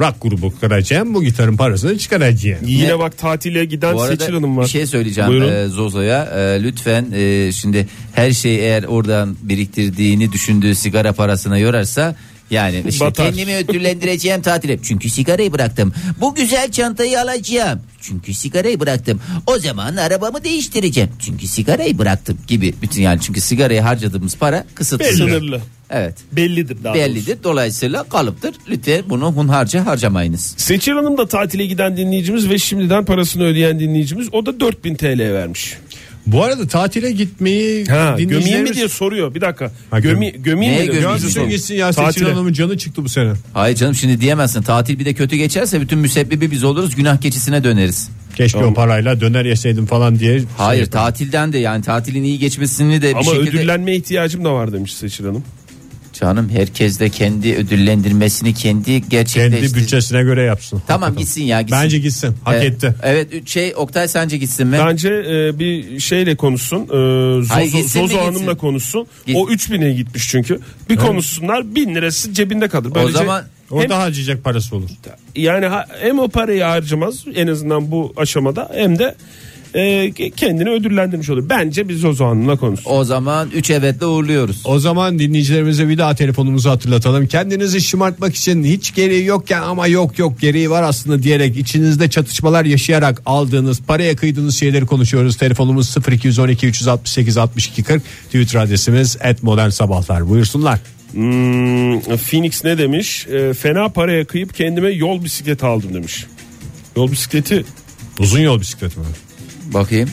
[SPEAKER 2] Rock grubu kıracağım bu gitarın parasını çıkaracağım.
[SPEAKER 4] yine
[SPEAKER 3] Ne?
[SPEAKER 4] bak tatile giden
[SPEAKER 3] Bu arada
[SPEAKER 4] Seçil Hanım var.
[SPEAKER 3] bir şey söyleyeceğim
[SPEAKER 4] Buyurun.
[SPEAKER 3] e, Zozo'ya. E, lütfen e, şimdi her şeyi eğer oradan biriktirdiğini düşündüğü sigara parasına yorarsa yani işte
[SPEAKER 4] Batar.
[SPEAKER 3] kendimi ödüllendireceğim tatile. Çünkü sigarayı bıraktım. Bu güzel çantayı alacağım. Çünkü sigarayı bıraktım. O zaman arabamı değiştireceğim. Çünkü sigarayı bıraktım gibi bütün yani çünkü sigaraya harcadığımız para kısıtlı.
[SPEAKER 4] Sınırlı.
[SPEAKER 3] Evet.
[SPEAKER 4] Bellidir daha doğrusu.
[SPEAKER 3] Bellidir. Dolayısıyla kalıptır. Lütfen bunu hunharca harcamayınız.
[SPEAKER 4] Seçil Hanım da tatile giden dinleyicimiz ve şimdiden parasını ödeyen dinleyicimiz. O da 4000 TL vermiş.
[SPEAKER 2] Bu arada tatile gitmeyi
[SPEAKER 4] Ha, gömeyim mi
[SPEAKER 2] dinleyicilerimiz-
[SPEAKER 4] diye soruyor. Bir dakika.
[SPEAKER 2] Ha, göm-
[SPEAKER 4] Gömi, gömeyim
[SPEAKER 3] Neye
[SPEAKER 4] mi? diyor.
[SPEAKER 3] gömeyim?
[SPEAKER 4] Gömsün
[SPEAKER 2] Gömsün
[SPEAKER 3] Gömeyim.
[SPEAKER 2] gitsin
[SPEAKER 4] gitsin
[SPEAKER 2] ya Seçil
[SPEAKER 4] Tatile.
[SPEAKER 2] Hanım'ın canı çıktı bu sene.
[SPEAKER 3] Hayır canım şimdi diyemezsin. Tatil bir de kötü geçerse bütün müsebbibi biz oluruz. Günah keçisine döneriz.
[SPEAKER 2] Keşke o parayla döner yeseydim falan diye. şey
[SPEAKER 3] Hayır
[SPEAKER 2] yapar.
[SPEAKER 3] tatilden de yani tatilin iyi geçmesini de bir
[SPEAKER 4] Ama
[SPEAKER 3] şekilde.
[SPEAKER 4] ödüllenme ihtiyacım da var demiş Seçil Hanım.
[SPEAKER 3] Canım herkes de kendi ödüllendirmesini kendi
[SPEAKER 2] Kendi
[SPEAKER 3] gerçekleştir.
[SPEAKER 2] bütçesine göre yapsın.
[SPEAKER 3] Tamam gitsin ya gitsin.
[SPEAKER 2] Bence gitsin. Hak
[SPEAKER 3] Evet,
[SPEAKER 2] etti.
[SPEAKER 3] Evet üç- şey Oktay sence gitsin mi?
[SPEAKER 4] Bence e, bir şeyle konuşsun. E, Zozo,
[SPEAKER 3] Hayır, gitsin mi
[SPEAKER 4] Zozo
[SPEAKER 3] gitsin?
[SPEAKER 4] Hanım'la konuşsun.
[SPEAKER 3] Git.
[SPEAKER 4] O 3000'e gitmiş çünkü. Bir konuşsunlar 1000 lirası cebinde kalır. Böylece
[SPEAKER 3] zaman-
[SPEAKER 2] Orada
[SPEAKER 4] hem,
[SPEAKER 2] harcayacak parası olur.
[SPEAKER 4] yani ha- hem o parayı harcamaz en azından bu aşamada hem de e, ke- kendini ödüllendirmiş olur. Bence biz Zozo Hanım'la konuşsun.
[SPEAKER 3] O zaman 3 evetle uğurluyoruz.
[SPEAKER 2] O zaman dinleyicilerimize bir daha telefonumuzu hatırlatalım. Kendinizi şımartmak için hiç gereği yokken ama yok yok gereği var aslında diyerek içinizde çatışmalar yaşayarak aldığınız paraya kıydığınız şeyleri konuşuyoruz. Telefonumuz 0212 368 62 40 Twitter adresimiz et modern sabahlar buyursunlar.
[SPEAKER 4] Hmm, Phoenix ne demiş? E, fena paraya kıyıp kendime yol bisikleti aldım demiş. Yol bisikleti
[SPEAKER 2] Uzun yol bisikleti mi?
[SPEAKER 3] Bakayım.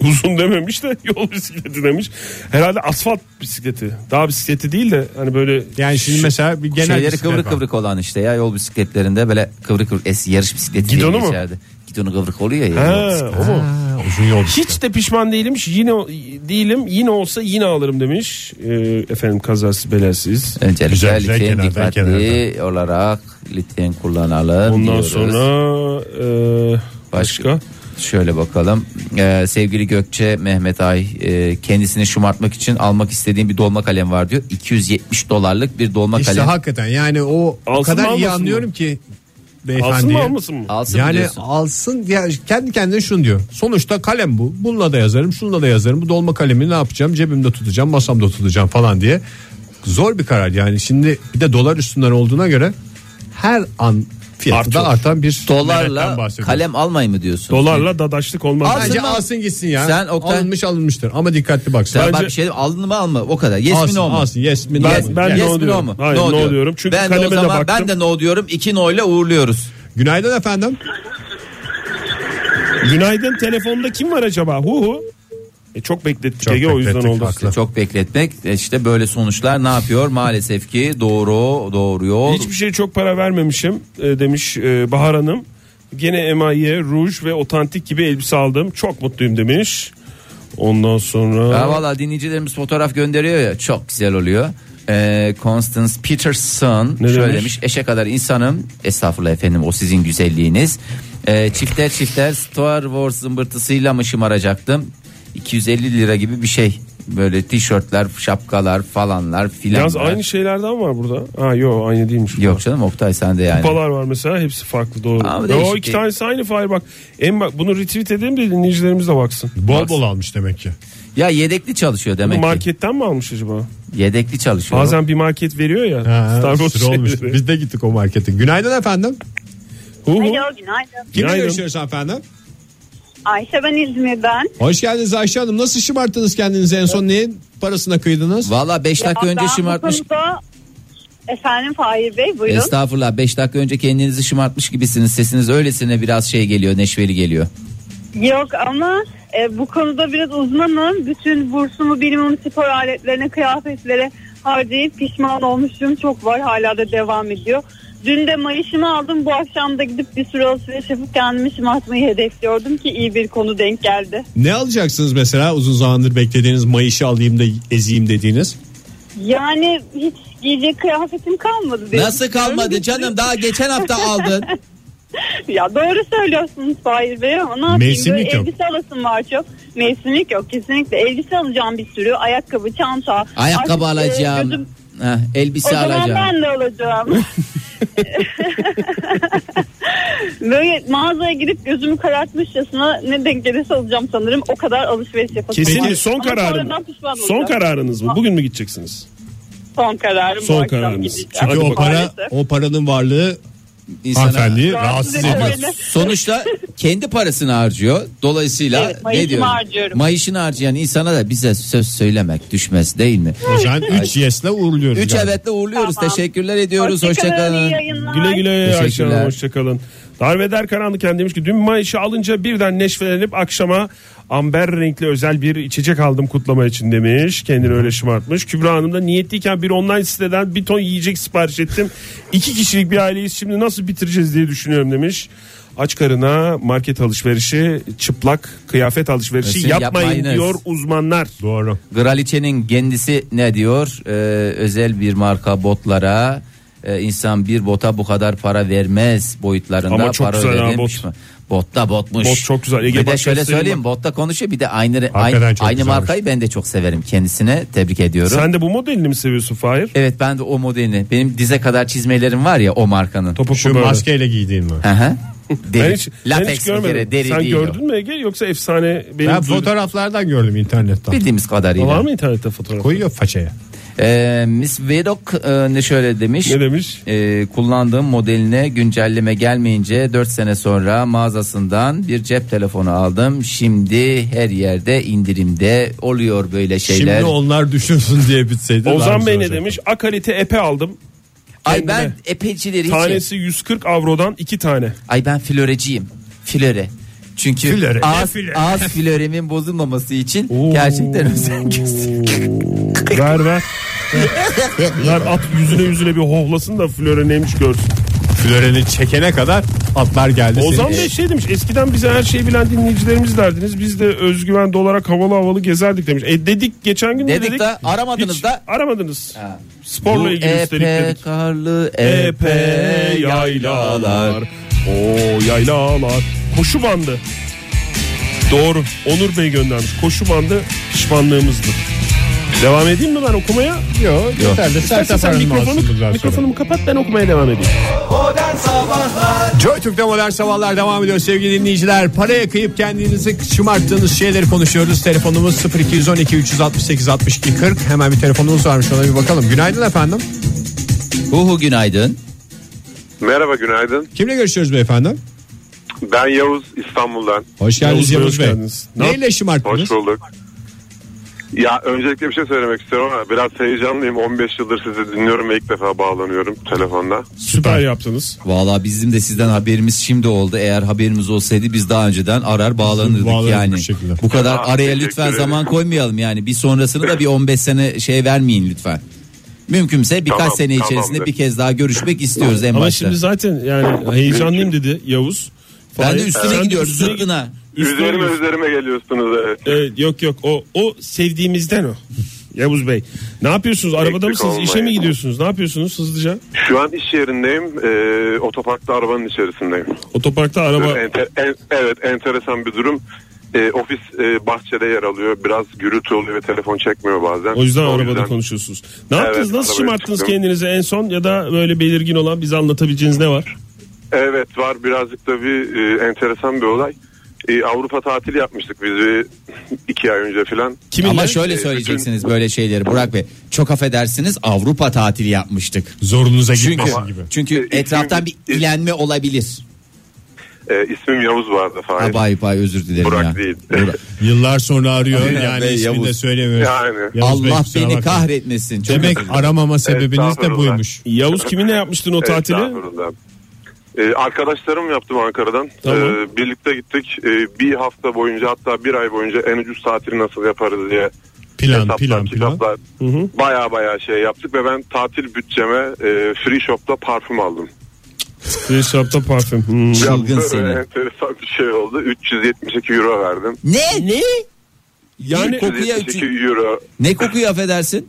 [SPEAKER 4] uzun dememiş de yol bisikleti demiş. Herhalde asfalt bisikleti. Dağ bisikleti değil de hani böyle
[SPEAKER 2] Yani şimdi
[SPEAKER 4] şu-
[SPEAKER 2] mesela bir genel
[SPEAKER 3] Şeyleri
[SPEAKER 2] bisiklet
[SPEAKER 3] kıvrık
[SPEAKER 2] var.
[SPEAKER 3] kıvrık olan işte ya yol bisikletlerinde böyle kıvrık kıvrık es, yarış bisikleti diye
[SPEAKER 4] Gidonu mu?
[SPEAKER 3] geçerdi. Gidonu kıvrık oluyor ya. yol
[SPEAKER 4] Ha,
[SPEAKER 3] bisikleti.
[SPEAKER 4] o mu?
[SPEAKER 2] Ha, uzun yol bisikleti.
[SPEAKER 4] Hiç de pişman değilimmiş. Yine o- değilim. Yine olsa yine alırım demiş. Ee, efendim kazasız belasız.
[SPEAKER 3] Öncelikle
[SPEAKER 2] Güzel, güzel,
[SPEAKER 3] lütfen
[SPEAKER 2] kenardan,
[SPEAKER 3] dikkatli olarak lütfen kullanalım
[SPEAKER 4] Ondan
[SPEAKER 3] diyoruz.
[SPEAKER 4] sonra e, başka.
[SPEAKER 3] Şöyle bakalım. Ee, sevgili Gökçe Mehmet Ay e, kendisini şımartmak için almak istediğim bir dolma kalem var diyor. 270 dolarlık bir dolma
[SPEAKER 2] İşte
[SPEAKER 3] kalem.
[SPEAKER 2] hakikaten yani o, o
[SPEAKER 4] Alsın mı,
[SPEAKER 2] kadar iyi
[SPEAKER 4] almasın
[SPEAKER 2] anlıyorum
[SPEAKER 4] mı?
[SPEAKER 2] ki
[SPEAKER 4] Alsın
[SPEAKER 2] beyefendiye.
[SPEAKER 4] mı almasın mı?
[SPEAKER 3] Alsın
[SPEAKER 2] yani
[SPEAKER 3] diyorsun.
[SPEAKER 2] alsın diye kendi kendine şunu diyor. Sonuçta kalem bu. Bununla da yazarım, şununla da yazarım. Bu dolma kalemi ne yapacağım? Cebimde tutacağım, masamda tutacağım falan diye. Zor bir karar yani. Şimdi bir de dolar üstünden olduğuna göre her an fiyatı
[SPEAKER 4] Artıyor.
[SPEAKER 2] da artan bir nimetten
[SPEAKER 3] Dolarla
[SPEAKER 2] bahsediyoruz.
[SPEAKER 3] kalem almayı mı diyorsun?
[SPEAKER 4] Dolarla dadaşlık olmaz.
[SPEAKER 3] Al-
[SPEAKER 2] Bence
[SPEAKER 3] Alsın mı?
[SPEAKER 2] alsın gitsin ya.
[SPEAKER 3] Sen Oktay-
[SPEAKER 2] Alınmış alınmıştır ama dikkatli bak.
[SPEAKER 3] Sen bak
[SPEAKER 4] Bence-
[SPEAKER 3] bir şey alın mı alma o kadar. Yes mi
[SPEAKER 2] alsın,
[SPEAKER 3] no mu?
[SPEAKER 2] alsın. Yes mi? no
[SPEAKER 4] Ben-
[SPEAKER 2] mu?
[SPEAKER 4] ben-
[SPEAKER 2] Yes.
[SPEAKER 4] no
[SPEAKER 3] mi,
[SPEAKER 4] diyorum.
[SPEAKER 3] mu?
[SPEAKER 4] Hayır, no diyorum. Çünkü
[SPEAKER 3] ben de o
[SPEAKER 4] kaleme de
[SPEAKER 3] zaman
[SPEAKER 4] baktım.
[SPEAKER 3] ben de no diyorum. İki no ile uğurluyoruz.
[SPEAKER 2] Günaydın efendim.
[SPEAKER 4] Günaydın telefonda kim var acaba? Hu hu. E, çok beklettik
[SPEAKER 2] Çok
[SPEAKER 4] Ege o yüzden
[SPEAKER 2] beklettik,
[SPEAKER 4] oldu.
[SPEAKER 2] haklı.
[SPEAKER 3] Çok bekletmek e, işte böyle sonuçlar ne yapıyor maalesef ki doğru doğuruyor.
[SPEAKER 4] Hiçbir şey şeye çok para vermemişim e, demiş e, Bahar Hanım. Gene emaye, ruj ve otantik gibi elbise aldım. Çok mutluyum demiş. Ondan sonra
[SPEAKER 3] Ya valla dinleyicilerimiz fotoğraf gönderiyor ya çok güzel oluyor. Ee, Constance Peterson
[SPEAKER 4] Ne
[SPEAKER 3] şöyle
[SPEAKER 4] demiş?
[SPEAKER 3] demiş? eşe kadar insanım estağfurullah efendim o sizin güzelliğiniz. Ee, çifter çifter Star Wars zımbırtısıyla mı şımaracaktım 250 lira gibi bir şey böyle tişörtler şapkalar falanlar filanlar.
[SPEAKER 4] yalnız aynı şey şeylerden var burada. Ha yok aynı değilmiş.
[SPEAKER 3] Yok canım Oktay sen de yani.
[SPEAKER 4] Kupalar var mesela hepsi farklı doğru.
[SPEAKER 3] Ama
[SPEAKER 4] Yo,
[SPEAKER 3] değişik
[SPEAKER 4] iki
[SPEAKER 3] değil.
[SPEAKER 4] tanesi aynı Fahir bak. En bak bunu retweet edeyim de dinleyicilerimiz de baksın.
[SPEAKER 2] Bol bol almış demek ki.
[SPEAKER 3] Ya yedekli çalışıyor
[SPEAKER 4] Bu
[SPEAKER 3] demek ki.
[SPEAKER 4] marketten mi almış acaba?
[SPEAKER 3] Yedekli çalışıyor.
[SPEAKER 4] Bazen bir market veriyor ya.
[SPEAKER 2] Ha,
[SPEAKER 4] Star Wars
[SPEAKER 2] sıra olmuş.
[SPEAKER 4] şeyleri.
[SPEAKER 2] Biz de gittik o markete. Günaydın efendim.
[SPEAKER 4] Hu hu.
[SPEAKER 6] Alo günaydın.
[SPEAKER 2] Kimle
[SPEAKER 4] Günaydın.
[SPEAKER 2] görüşüyoruz efendim?
[SPEAKER 6] Ayşe ben İzmir'den.
[SPEAKER 2] Hoş geldiniz Ayşe Hanım. Nasıl şımarttınız kendinizi en son? Neyin parasına kıydınız?
[SPEAKER 3] Valla 5 dakika
[SPEAKER 6] Ya
[SPEAKER 3] önce
[SPEAKER 6] ben
[SPEAKER 3] şımartmış.
[SPEAKER 6] bu konuda- Efendim Fahir Bey buyurun.
[SPEAKER 3] Estağfurullah 5 dakika önce kendinizi şımartmış gibisiniz. Sesiniz öylesine biraz şey geliyor, neşveli geliyor.
[SPEAKER 6] Yok ama e, bu konuda biraz uzmanım. Bütün bursumu minimum spor aletlerine, kıyafetlere harcayıp pişman olmuşum. Çok var hala da devam ediyor. Dün de mayışımı aldım. Bu akşam da gidip bir sürü alışveriş yapıp kendimi şımartmayı hedefliyordum ki iyi bir konu denk geldi.
[SPEAKER 2] Ne alacaksınız mesela uzun zamandır beklediğiniz Mayış'ı alayım da ezeyim dediğiniz?
[SPEAKER 6] Yani hiç giyecek kıyafetim kalmadı. benim.
[SPEAKER 3] Nasıl kalmadı canım? Daha geçen hafta aldın.
[SPEAKER 6] Ya doğru söylüyorsunuz Fahir Bey ama ne yapayım?
[SPEAKER 2] Mevsimlik
[SPEAKER 6] Böyle
[SPEAKER 2] yok.
[SPEAKER 6] Elbise alasım var çok. Mevsimlik yok kesinlikle. Elbise alacağım bir sürü. Ayakkabı, çanta.
[SPEAKER 3] Ayakkabı
[SPEAKER 6] Artık, e, gözüm-
[SPEAKER 3] alacağım. Heh,
[SPEAKER 6] O
[SPEAKER 3] elbise
[SPEAKER 6] zaman
[SPEAKER 3] alacağım.
[SPEAKER 6] ben de alacağım. Böyle mağazaya gidip gözümü karartmışçasına ne denk gelirse alacağım sanırım. O kadar alışveriş yapasım
[SPEAKER 4] Kesin
[SPEAKER 6] var.
[SPEAKER 4] mi? son
[SPEAKER 6] Ama
[SPEAKER 4] kararın
[SPEAKER 6] sonradan
[SPEAKER 4] mı?
[SPEAKER 6] pişman
[SPEAKER 4] Son
[SPEAKER 6] olacağım.
[SPEAKER 4] kararınız mı? Bugün mü gideceksiniz?
[SPEAKER 6] Son kararım. bu
[SPEAKER 4] Son
[SPEAKER 6] akşam
[SPEAKER 4] kararınız.
[SPEAKER 6] gideceğim.
[SPEAKER 2] Çünkü o para
[SPEAKER 6] Maalesef.
[SPEAKER 2] o paranın varlığı
[SPEAKER 3] İnsana-
[SPEAKER 2] hanımefendiyi
[SPEAKER 6] Rahatsız
[SPEAKER 2] rahatsız
[SPEAKER 6] ediyor.
[SPEAKER 2] ediyor.
[SPEAKER 3] Ama
[SPEAKER 6] Öyle.
[SPEAKER 3] sonuçta kendi parasını harcıyor. Dolayısıyla
[SPEAKER 6] Evet,
[SPEAKER 3] ne
[SPEAKER 6] mayışımı
[SPEAKER 3] diyorum?
[SPEAKER 6] harcıyorum.
[SPEAKER 3] Mayışını harcayan insana da bize söz söylemek düşmez değil mi?
[SPEAKER 2] O zaman 3 yes'le uğurluyoruz.
[SPEAKER 3] 3
[SPEAKER 2] yani.
[SPEAKER 3] evetle uğurluyoruz.
[SPEAKER 6] Tamam.
[SPEAKER 3] Teşekkürler ediyoruz.
[SPEAKER 6] iyi
[SPEAKER 3] Hoşçakalın.
[SPEAKER 6] yayınlar.
[SPEAKER 4] Güle güle Ayşe
[SPEAKER 3] Teşekkürler.
[SPEAKER 4] Hanım hoşçakalın. Darveder Karanlık yani demiş ki dün Mayış'ı alınca birden neşvelenip akşama amber renkli özel bir içecek aldım kutlama için demiş. Kendini öyle şımartmış. Kübra Hanım da niyetliyken bir online siteden bir ton yiyecek sipariş ettim. İki kişilik bir aileyiz şimdi nasıl bitireceğiz diye düşünüyorum demiş. Aç karına market alışverişi, çıplak kıyafet alışverişi
[SPEAKER 3] Kesin
[SPEAKER 4] yapmayın
[SPEAKER 3] yapmayınız.
[SPEAKER 4] diyor uzmanlar.
[SPEAKER 2] Doğru.
[SPEAKER 3] Graliçe'nin kendisi ne diyor? Ee, özel bir marka botlara e, insan bir bota bu kadar para vermez boyutlarında
[SPEAKER 4] Ama çok
[SPEAKER 3] para
[SPEAKER 4] güzel ha,
[SPEAKER 3] ödemiş
[SPEAKER 4] bot.
[SPEAKER 3] mi? Botta botmuş.
[SPEAKER 4] Bot çok güzel. Ege
[SPEAKER 3] bir de
[SPEAKER 4] Bak
[SPEAKER 3] şöyle
[SPEAKER 4] göstereyim
[SPEAKER 3] söyleyeyim botta konuşuyor bir de aynı
[SPEAKER 2] Hakikaten
[SPEAKER 3] aynı,
[SPEAKER 2] çok
[SPEAKER 3] aynı
[SPEAKER 2] güzelmiş.
[SPEAKER 3] markayı ben de çok severim kendisine tebrik ediyorum.
[SPEAKER 4] Sen de bu modelini mi seviyorsun Fahir?
[SPEAKER 3] Evet ben de o modelini benim dize kadar çizmelerim var ya o markanın.
[SPEAKER 4] Topuklu
[SPEAKER 2] Şu
[SPEAKER 4] böyle.
[SPEAKER 2] maskeyle giydiğin mi?
[SPEAKER 3] Hı hı.
[SPEAKER 4] Ben
[SPEAKER 3] Deri,
[SPEAKER 4] hiç, ben hiç
[SPEAKER 3] latex bir
[SPEAKER 4] görmedim.
[SPEAKER 3] kere deri
[SPEAKER 4] Sen
[SPEAKER 3] değil o.
[SPEAKER 4] gördün mü Ege yoksa efsane benim
[SPEAKER 2] Ben
[SPEAKER 4] duyduğum-
[SPEAKER 2] fotoğraflardan gördüm internetten.
[SPEAKER 3] Bildiğimiz kadarıyla.
[SPEAKER 4] Var mı internette fotoğraf?
[SPEAKER 2] Koyuyor façaya.
[SPEAKER 3] Ee, Miss Vedok e, ne şöyle demiş.
[SPEAKER 4] Ne demiş?
[SPEAKER 3] Ee, kullandığım modeline güncelleme gelmeyince 4 sene sonra mağazasından bir cep telefonu aldım. Şimdi her yerde indirimde oluyor böyle şeyler.
[SPEAKER 2] Şimdi onlar düşünsün diye bitseydi. daha
[SPEAKER 4] Ozan
[SPEAKER 2] güzel
[SPEAKER 4] Bey
[SPEAKER 3] şey?
[SPEAKER 4] ne
[SPEAKER 2] olacaktı.
[SPEAKER 4] demiş? A kalite epe aldım.
[SPEAKER 3] Ay
[SPEAKER 4] Kendine.
[SPEAKER 3] ben epeycileri hiç.
[SPEAKER 4] Tanesi 140 avrodan iki tane.
[SPEAKER 3] Ay ben floreciyim. Flöre. Çünkü
[SPEAKER 2] Flöre.
[SPEAKER 3] ağız, ağız flöremin bozulmaması için gerçekten özen gösteriyorum.
[SPEAKER 4] ver ver. ver at yüzüne yüzüne bir hohlasın da flöre neymiş görsün.
[SPEAKER 2] Flöreni çekene kadar atlar geldi.
[SPEAKER 4] Ozan
[SPEAKER 2] Senin-
[SPEAKER 4] Bey şey demiş eskiden bize her şeyi bilen dinleyicilerimiz derdiniz. Biz de özgüven dolarak havalı havalı gezerdik demiş. E dedik geçen gün de
[SPEAKER 3] Dedik
[SPEAKER 4] dedik.
[SPEAKER 3] da aramadınız
[SPEAKER 4] Hiç
[SPEAKER 3] da.
[SPEAKER 4] Aramadınız.
[SPEAKER 3] Ha.
[SPEAKER 4] Sporla
[SPEAKER 3] Bu
[SPEAKER 4] ilgili üstelik
[SPEAKER 3] epe
[SPEAKER 4] dedik.
[SPEAKER 3] karlı
[SPEAKER 4] Epe yaylalar. O yaylalar. Koşu bandı. Doğru. Onur Bey göndermiş. Koşu bandı pişmanlığımızdır. Devam edeyim mi ben okumaya?
[SPEAKER 2] Yok yeter de sert
[SPEAKER 4] İstersen sen
[SPEAKER 2] yaparım
[SPEAKER 4] mikrofonu,
[SPEAKER 2] aslında bundan sonra.
[SPEAKER 4] mikrofonumu kapat ben okumaya devam edeyim.
[SPEAKER 1] Modern Sabahlar
[SPEAKER 2] Joy Türk'te modern sabahlar devam ediyor sevgili dinleyiciler. Paraya kıyıp kendinizi şımarttığınız şeyleri konuşuyoruz. Telefonumuz 0212 368 62 40. Hemen bir telefonumuz varmış ona bir bakalım. Günaydın efendim.
[SPEAKER 3] Huhu günaydın.
[SPEAKER 7] Merhaba günaydın.
[SPEAKER 2] Kimle görüşüyoruz beyefendi?
[SPEAKER 7] Ben Yavuz İstanbul'dan.
[SPEAKER 2] Hoş geldiniz
[SPEAKER 4] Yavuz Bey,
[SPEAKER 2] Yavuz
[SPEAKER 4] hoş
[SPEAKER 2] Bey.
[SPEAKER 4] geldiniz. Ne
[SPEAKER 2] Neyle şımarttınız?
[SPEAKER 7] Hoş bulduk. Ya öncelikle bir şey söylemek istiyorum ama biraz heyecanlıyım. 15 yıldır sizi dinliyorum ve ilk defa bağlanıyorum telefonda.
[SPEAKER 4] Süper yaptınız.
[SPEAKER 3] Valla bizim de sizden haberimiz şimdi oldu. Eğer haberimiz olsaydı biz daha önceden arar bağlanırdık
[SPEAKER 2] Bağlanırdık bir
[SPEAKER 3] yani.
[SPEAKER 2] şekilde.
[SPEAKER 3] Bu kadar
[SPEAKER 7] Aa,
[SPEAKER 3] araya
[SPEAKER 7] teşekkür
[SPEAKER 3] lütfen
[SPEAKER 7] ederim.
[SPEAKER 3] zaman koymayalım yani. Bir sonrasını da bir 15 sene şey vermeyin lütfen. Mümkünse birkaç
[SPEAKER 7] Tamam,
[SPEAKER 3] sene içerisinde
[SPEAKER 7] tamamdır.
[SPEAKER 3] bir kez daha görüşmek istiyoruz en
[SPEAKER 4] Ama
[SPEAKER 3] başta.
[SPEAKER 4] şimdi zaten yani heyecanlıyım dedi Yavuz.
[SPEAKER 3] ben de
[SPEAKER 4] Fahir,
[SPEAKER 3] üstüne
[SPEAKER 4] sen de
[SPEAKER 3] gidiyorum
[SPEAKER 4] üstüne-
[SPEAKER 3] zıttına.
[SPEAKER 4] üstüne
[SPEAKER 7] üzerime
[SPEAKER 4] gidiyorsun.
[SPEAKER 7] üzerime geliyorsunuz Ee, evet.
[SPEAKER 4] Evet, yok yok o o sevdiğimizden o. Yavuz Bey. Ne yapıyorsunuz? Arabada
[SPEAKER 7] Eksik
[SPEAKER 4] mısınız? İşe mi
[SPEAKER 7] olmayın.
[SPEAKER 4] gidiyorsunuz? Ne yapıyorsunuz hızlıca?
[SPEAKER 7] Şu an iş yerindeyim. Ee, otoparkta arabanın içerisindeyim. Ee,
[SPEAKER 4] Otoparkta araba
[SPEAKER 7] Enter- en- evet enteresan bir durum. Ee, ofis e, bahçede yer alıyor. Biraz gürültü oluyor ve telefon çekmiyor bazen.
[SPEAKER 4] O yüzden arabada
[SPEAKER 7] yüzden-
[SPEAKER 4] konuşuyorsunuz. Ne yaptınız? Nasıl
[SPEAKER 7] arabaya
[SPEAKER 4] şımarttınız
[SPEAKER 7] çıktım.
[SPEAKER 4] kendinizi en son ya da böyle belirgin olan bize anlatabileceğiniz ne var?
[SPEAKER 7] Evet var birazcık da bir e, enteresan bir olay. E, Avrupa tatili yapmıştık biz bir iki ay önce filan.
[SPEAKER 4] Kiminle?
[SPEAKER 3] Ama şöyle
[SPEAKER 7] Ee,
[SPEAKER 3] söyleyeceksiniz böyle şeyleri Burak Bey. Çok affedersiniz Avrupa tatili yapmıştık.
[SPEAKER 2] Zorunuza
[SPEAKER 3] Çünkü
[SPEAKER 2] gitmesin gibi.
[SPEAKER 3] çünkü
[SPEAKER 7] Ee,
[SPEAKER 3] etraftan bir
[SPEAKER 7] ismim-
[SPEAKER 3] ilenme olabilir.
[SPEAKER 7] E, ismim Yavuz vardı
[SPEAKER 3] Ha,
[SPEAKER 7] Fahir.
[SPEAKER 3] bay bay özür dilerim
[SPEAKER 7] Burak
[SPEAKER 3] ya.
[SPEAKER 7] değil.
[SPEAKER 3] Burak.
[SPEAKER 2] Yıllar sonra arıyor
[SPEAKER 3] Aynen
[SPEAKER 2] yani
[SPEAKER 3] be,
[SPEAKER 2] ismini de
[SPEAKER 3] Yavuz.
[SPEAKER 2] söylemiyoruz.
[SPEAKER 7] Yani.
[SPEAKER 2] Yavuz Bey,
[SPEAKER 3] Allah
[SPEAKER 2] kusura
[SPEAKER 3] beni
[SPEAKER 2] bakmayın.
[SPEAKER 3] kahretmesin. Çok
[SPEAKER 2] Demek
[SPEAKER 3] özür dilerim.
[SPEAKER 2] aramama sebebiniz de
[SPEAKER 7] Estağfurullah.
[SPEAKER 2] buymuş.
[SPEAKER 4] Yavuz kiminle yapmıştın o
[SPEAKER 7] Evet,
[SPEAKER 4] tatili?
[SPEAKER 7] estağfurullah. E, arkadaşlarım yaptım Ankara'dan.
[SPEAKER 4] Tamam.
[SPEAKER 7] E, birlikte gittik. E, bir hafta boyunca hatta bir ay boyunca en ucuz tatili nasıl yaparız diye
[SPEAKER 2] Plan
[SPEAKER 7] hesaplar,
[SPEAKER 2] plan plan.
[SPEAKER 7] kitaplar baya baya şey yaptık ve ben tatil bütçeme e, free shop'ta parfüm aldım.
[SPEAKER 4] Hesapta parfüm. Hmm.
[SPEAKER 3] Çılgın
[SPEAKER 7] Böyle
[SPEAKER 3] seni.
[SPEAKER 7] Enteresan bir şey oldu. 372 euro verdim.
[SPEAKER 3] Ne? Ne? Yani
[SPEAKER 4] Yani
[SPEAKER 3] kokuya
[SPEAKER 7] 372 euro.
[SPEAKER 3] ne kokuyu affedersin?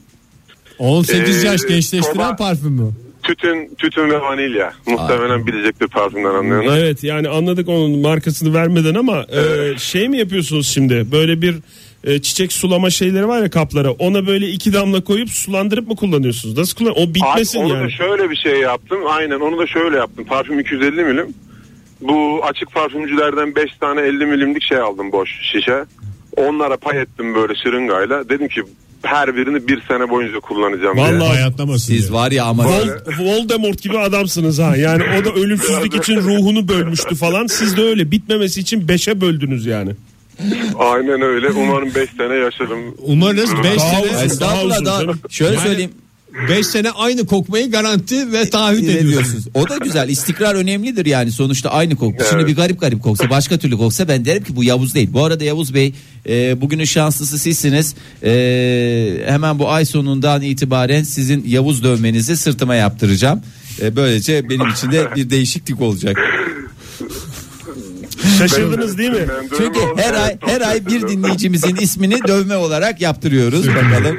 [SPEAKER 2] 18 yaş
[SPEAKER 7] Ee,
[SPEAKER 2] gençleştiren
[SPEAKER 7] soba-
[SPEAKER 2] parfüm mü?
[SPEAKER 7] Tütün, tütün ve vanilya. Muhtemelen bilecektir parfümden anlayan.
[SPEAKER 4] Evet yani anladık onun markasını vermeden ama e, şey mi yapıyorsunuz şimdi? Böyle bir e, çiçek sulama şeyleri var ya kaplara. Ona böyle iki damla koyup sulandırıp mı kullanıyorsunuz? Nasıl kullan? O
[SPEAKER 7] Abi,
[SPEAKER 4] bitmesin
[SPEAKER 7] onu da
[SPEAKER 4] yani.
[SPEAKER 7] şöyle bir şey yaptım. Aynen onu da şöyle yaptım. Parfüm 250 milim. Bu açık parfümcülerden 5 tane 50 milimlik şey aldım boş şişe. Onlara pay ettim böyle şırıngayla. Dedim ki her birini bir sene boyunca kullanacağım diye.
[SPEAKER 4] Vallahi
[SPEAKER 2] Hayatlamasın
[SPEAKER 3] Siz
[SPEAKER 2] diye.
[SPEAKER 3] var ya ama
[SPEAKER 4] Vol- Voldemort gibi adamsınız ha. Yani o da ölümsüzlük için ruhunu bölmüştü falan. Siz de öyle bitmemesi için beşe böldünüz yani.
[SPEAKER 7] Aynen öyle. Umarım 5 sene yaşarım.
[SPEAKER 2] Umarız 5
[SPEAKER 4] Daha
[SPEAKER 2] sene
[SPEAKER 4] olsun.
[SPEAKER 3] estağfurullah
[SPEAKER 4] Daha
[SPEAKER 3] daha
[SPEAKER 4] uzun canım.
[SPEAKER 3] şöyle
[SPEAKER 2] Yani-
[SPEAKER 3] söyleyeyim.
[SPEAKER 2] 5 sene aynı kokmayı garanti ve taahhüt
[SPEAKER 3] Ne
[SPEAKER 2] ediyorsunuz.
[SPEAKER 3] diyorsunuz? O da güzel. İstikrar önemlidir yani. Sonuçta aynı koku. Şimdi
[SPEAKER 7] Evet.
[SPEAKER 3] bir garip garip koksa, başka türlü koksa ben derim ki bu Yavuz değil. Bu arada Yavuz Bey, e, bugünün şanslısı sizsiniz. E, hemen bu ay sonundan itibaren sizin Yavuz dövmenizi sırtıma yaptıracağım. E, böylece benim için de bir değişiklik olacak.
[SPEAKER 4] Şaşırdınız değil mi?
[SPEAKER 7] Ben
[SPEAKER 3] Çünkü
[SPEAKER 7] dönüyorum.
[SPEAKER 3] her ay
[SPEAKER 7] Evet,
[SPEAKER 3] her ay bir
[SPEAKER 7] teşekkür ederim.
[SPEAKER 3] dinleyicimizin ismini dövme olarak yaptırıyoruz bakalım.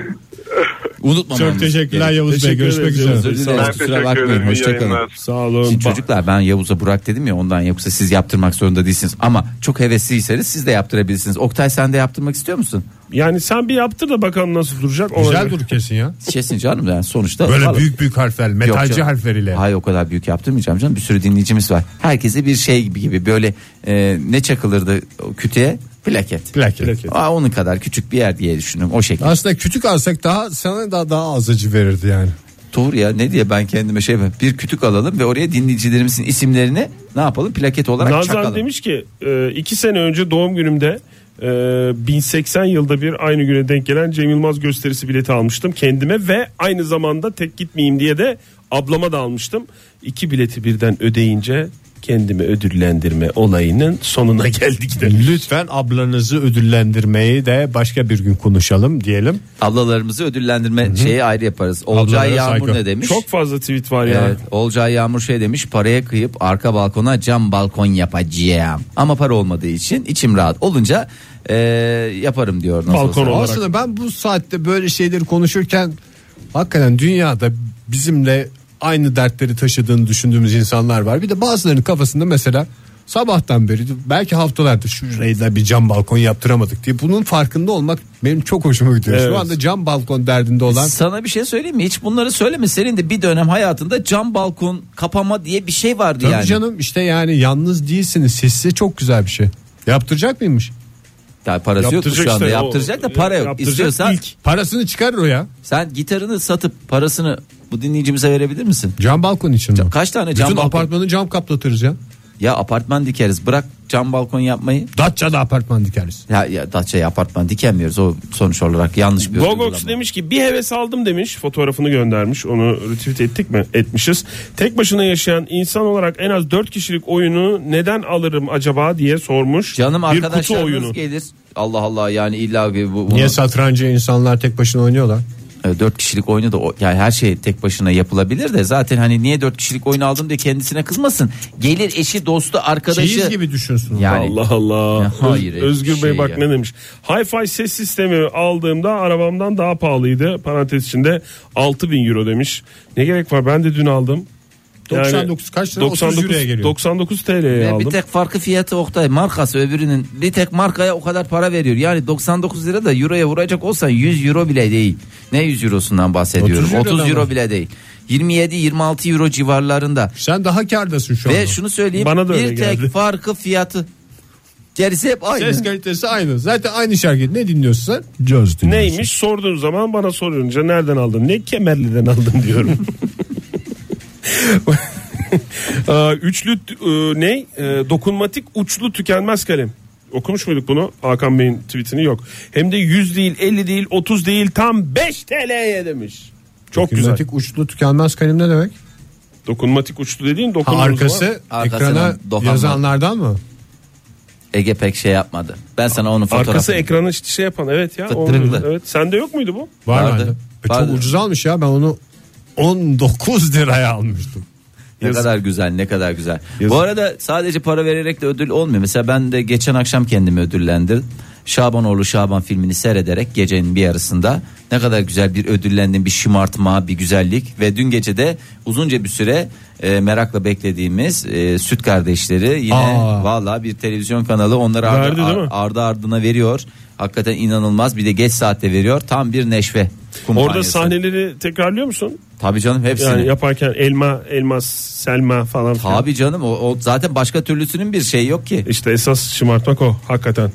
[SPEAKER 3] Unutmamamız.
[SPEAKER 2] Çok teşekkürler
[SPEAKER 3] gerek.
[SPEAKER 2] Yavuz Bey.
[SPEAKER 4] Teşekkür
[SPEAKER 2] Görüşmek
[SPEAKER 4] ederiz.
[SPEAKER 2] üzere.
[SPEAKER 3] Özür dileriz,
[SPEAKER 7] Ben
[SPEAKER 3] kusura
[SPEAKER 7] teşekkür
[SPEAKER 3] bakmayın.
[SPEAKER 7] ederim. İyi
[SPEAKER 3] Hoşçakalın.
[SPEAKER 7] yayınlar.
[SPEAKER 4] Sağ olun.
[SPEAKER 3] Şimdi çocuklar ben Yavuz'a Burak dedim ya ondan yoksa siz yaptırmak zorunda değilsiniz. Ama çok hevesliyseniz siz de yaptırabilirsiniz. Oktay sen de yaptırmak istiyor musun?
[SPEAKER 4] Yani sen bir yaptır da bakalım nasıl duracak. ona
[SPEAKER 2] Güzel
[SPEAKER 4] göre.
[SPEAKER 2] dur kesin ya.
[SPEAKER 3] Kesin canım yani sonuçta.
[SPEAKER 2] Böyle
[SPEAKER 3] Vallahi-
[SPEAKER 2] büyük büyük harfler,
[SPEAKER 3] Yok
[SPEAKER 2] metalci
[SPEAKER 3] canım.
[SPEAKER 2] harfleriyle.
[SPEAKER 3] Hayır o kadar büyük yaptırmayacağım canım. Bir sürü dinleyicimiz var. Herkese bir şey gibi gibi böyle e, ne çakılırdı o kütüğe? Plaket.
[SPEAKER 2] Plaket.
[SPEAKER 3] Aa, onun kadar küçük bir yer diye düşünüyorum o şekilde.
[SPEAKER 2] Aslında kütük alsak daha sana da daha az acı verirdi yani.
[SPEAKER 3] Doğru ya ne diye ben kendime şey yapayım. bir kütük alalım ve oraya dinleyicilerimizin isimlerini ne yapalım plaket olarak
[SPEAKER 4] Nazan
[SPEAKER 3] çakalım.
[SPEAKER 4] demiş ki e, iki sene önce doğum günümde e, 1080 yılda bir aynı güne denk gelen Cem Yılmaz gösterisi bileti almıştım kendime ve aynı zamanda tek gitmeyeyim diye de ablama da almıştım. İki bileti birden ödeyince kendimi ödüllendirme olayının sonuna geldik de.
[SPEAKER 2] Lütfen ablanızı ödüllendirmeyi de başka bir gün konuşalım diyelim.
[SPEAKER 3] Ablalarımızı ödüllendirme şeyi ayrı yaparız. Olcay
[SPEAKER 2] Ablalara
[SPEAKER 3] Yağmur
[SPEAKER 2] saygı.
[SPEAKER 3] ne demiş?
[SPEAKER 4] Çok fazla tweet var ya.
[SPEAKER 3] Evet, Olcay Yağmur şey demiş paraya kıyıp arka balkona cam balkon yapacağım. Ama para olmadığı için içim rahat olunca eee, yaparım diyor. Nasıl
[SPEAKER 4] Balkon
[SPEAKER 3] olsa.
[SPEAKER 4] ol. Olarak.
[SPEAKER 2] Aslında ben bu saatte böyle şeyleri konuşurken hakikaten dünyada bizimle aynı dertleri taşıdığını düşündüğümüz insanlar var. Bir de bazılarının kafasında mesela sabahtan beri belki haftalardır şurayı da bir cam balkon yaptıramadık diye bunun farkında olmak benim çok hoşuma gidiyor. Şu
[SPEAKER 4] Evet.
[SPEAKER 2] anda cam balkon derdinde olan
[SPEAKER 3] Sana bir şey söyleyeyim mi? Hiç bunları söyleme. Senin de bir dönem hayatında cam balkon kapama diye bir şey vardı
[SPEAKER 2] Tabii
[SPEAKER 3] yani.
[SPEAKER 2] canım işte yani yalnız değilsiniz. Siz size çok güzel bir şey. Yaptıracak mıymış?
[SPEAKER 3] Daha parası yok
[SPEAKER 4] Yaptıracak
[SPEAKER 3] şu anda
[SPEAKER 4] işte o-
[SPEAKER 3] yaptıracak da para yok.
[SPEAKER 4] yaptıracak
[SPEAKER 3] İstiyorsan
[SPEAKER 4] ilk.
[SPEAKER 2] Parasını çıkarır o ya.
[SPEAKER 3] sen gitarını satıp parasını bu dinleyicimize verebilir misin?
[SPEAKER 2] Cam balkon için mi?
[SPEAKER 3] Kaç tane
[SPEAKER 2] Bütün
[SPEAKER 3] cam balkon?
[SPEAKER 2] apartmanı cam kaplatırız ya.
[SPEAKER 3] Ya apartman dikeriz bırak cam balkon yapmayı.
[SPEAKER 2] Datça'da apartman dikeriz.
[SPEAKER 3] Ya, ya Datça'ya apartman dikemiyoruz o sonuç olarak yanlış bir
[SPEAKER 4] Gogox
[SPEAKER 3] uygulama.
[SPEAKER 4] demiş ki bir heves aldım demiş. Fotoğrafını göndermiş. Onu retweet ettik mi? Etmişiz. Tek başına yaşayan insan olarak en az 4 kişilik oyunu neden alırım acaba diye sormuş.
[SPEAKER 3] Canım
[SPEAKER 4] bir kutu
[SPEAKER 3] arkadaşlarınız
[SPEAKER 4] oyunu.
[SPEAKER 3] gelir. Allah Allah yani illa bir bu, bunu,
[SPEAKER 2] Niye satrancı insanlar tek başına oynuyorlar?
[SPEAKER 3] e, dört kişilik oyunu da o- yani her şey tek başına yapılabilir de zaten hani niye dört kişilik oyunu aldım diye kendisine kızmasın. Gelir eşi dostu arkadaşı.
[SPEAKER 2] Çeyiz gibi düşünsün.
[SPEAKER 3] Yani
[SPEAKER 4] Allah Allah.
[SPEAKER 3] Ya hayır,
[SPEAKER 4] Öz- Özgür
[SPEAKER 3] şey
[SPEAKER 4] Bey bak
[SPEAKER 3] ya.
[SPEAKER 4] ne demiş. Hi-Fi ses sistemi aldığımda arabamdan daha pahalıydı. Parantez içinde 6000 euro demiş. Ne gerek var ben de dün aldım.
[SPEAKER 2] 99 kaç lira? 30 euroya geliyor.
[SPEAKER 4] 99 TL'ye
[SPEAKER 3] Ve
[SPEAKER 4] aldım.
[SPEAKER 3] bir tek farkı fiyatı Oktay markası öbürünün bir tek markaya o kadar para veriyor. Yani 99 lira da euroya vuracak olsan 100 euro bile değil. Ne 100 eurosundan bahsediyorum?
[SPEAKER 2] 30
[SPEAKER 3] 30,
[SPEAKER 2] eurodan
[SPEAKER 3] euro
[SPEAKER 2] mı?
[SPEAKER 3] bile değil. 27-26 euro civarlarında.
[SPEAKER 2] Sen daha kârdasın şu anda.
[SPEAKER 3] Ve şunu söyleyeyim
[SPEAKER 4] Bana da
[SPEAKER 3] bir
[SPEAKER 4] öyle
[SPEAKER 3] tek
[SPEAKER 4] geldi.
[SPEAKER 3] farkı fiyatı. Gerisi hep aynı.
[SPEAKER 2] Ses kalitesi aynı. Zaten aynı şarkı. Ne dinliyorsun sen? Caz dinliyorsun.
[SPEAKER 4] Neymiş sorduğun zaman bana sorunca nereden aldın? Ne kemerliden aldın diyorum. Aa, Üçlü t- e, ne? E, Dokunmatik uçlu tükenmez kalem. Okumuş muyduk bunu? Hakan Bey'in tweetini yok. Hem de 100 değil, 50 değil, 30 değil tam 5 TL'ye demiş. Çok güzel.
[SPEAKER 2] Hükümetik uçlu tükenmez kalem ne demek?
[SPEAKER 4] Dokunmatik uçlu dediğin
[SPEAKER 2] Ha,
[SPEAKER 4] dokunduğun zaman-
[SPEAKER 2] arkası
[SPEAKER 3] Arkasına
[SPEAKER 2] ekrana
[SPEAKER 3] dokanma.
[SPEAKER 2] yazanlardan mı?
[SPEAKER 3] Ege pek şey yapmadı. Ben sana onun fotoğrafını.
[SPEAKER 4] Arkası ekranı işte şey yapan evet ya.
[SPEAKER 3] Fıttırıklı.
[SPEAKER 4] Onu- evet. Sende yok muydu bu?
[SPEAKER 2] Var
[SPEAKER 3] Vardı.
[SPEAKER 2] vardı. E,
[SPEAKER 3] Vardı.
[SPEAKER 2] Çok ucuz almış ya ben onu 19 liraya almıştım.
[SPEAKER 3] Ne
[SPEAKER 4] Yazık.
[SPEAKER 3] kadar güzel ne kadar güzel. Bu arada sadece para vererek de ödül olmuyor. Mesela ben de geçen akşam kendimi ödüllendirdim. Şabanoğlu Şaban filmini seyrederek gecenin bir yarısında ne kadar güzel bir ödüllendim bir şımartma bir güzellik ve dün gece de uzunca bir süre e, merakla beklediğimiz e, süt kardeşleri yine
[SPEAKER 2] Aa.
[SPEAKER 3] valla bir televizyon kanalı onları ardı,
[SPEAKER 4] Verdi değil mi?
[SPEAKER 3] ardı ardına veriyor. Hakikaten inanılmaz bir de geç saatte veriyor tam bir neşve kumpanyası.
[SPEAKER 4] Orada sahneleri tekrarlıyor musun?
[SPEAKER 3] Tabii canım hepsini.
[SPEAKER 4] Yani yaparken elma, elmas, selma falan. filan.
[SPEAKER 3] Tabii canım o, o zaten başka türlüsünün bir şey yok ki.
[SPEAKER 4] İşte esas şımartmak o hakikaten.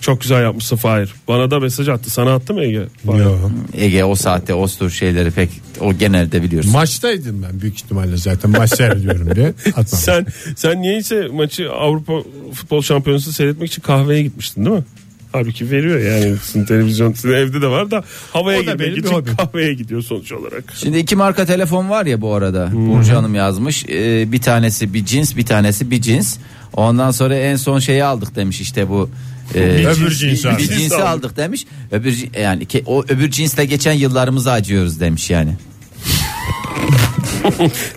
[SPEAKER 4] Çok güzel yapmışsın Fahir. Bana da mesaj attı. Sana attı mı Ege? Fahir.
[SPEAKER 2] Yo.
[SPEAKER 3] Ege o saatte o tür şeyleri pek o genelde biliyorsun.
[SPEAKER 2] Maçtaydım ben büyük ihtimalle zaten maç seyrediyorum diye atmadım.
[SPEAKER 4] Sen sen niyeyse maçı Avrupa Futbol Şampiyonası seyretmek için kahveye gitmiştin değil mi? Halbuki veriyor yani sizin televizyon sizin evde de var da Şey- havaya
[SPEAKER 2] O da
[SPEAKER 4] girmek
[SPEAKER 2] benim bir
[SPEAKER 4] için
[SPEAKER 2] hobim.
[SPEAKER 4] kahveye gidiyor sonuç olarak.
[SPEAKER 3] Şimdi iki marka telefon var ya bu arada. Burcu Hanım yazmış. Ee, bir tanesi bir cins, bir tanesi bir cins. Ondan sonra en son şeyi aldık demiş işte bu. e,
[SPEAKER 2] Bir Öbür cinsi
[SPEAKER 3] bir
[SPEAKER 2] aldık.
[SPEAKER 3] cinsi aldık demiş. Öbür cin- yani ke- o öbür cinsle geçen yıllarımızı acıyoruz demiş yani.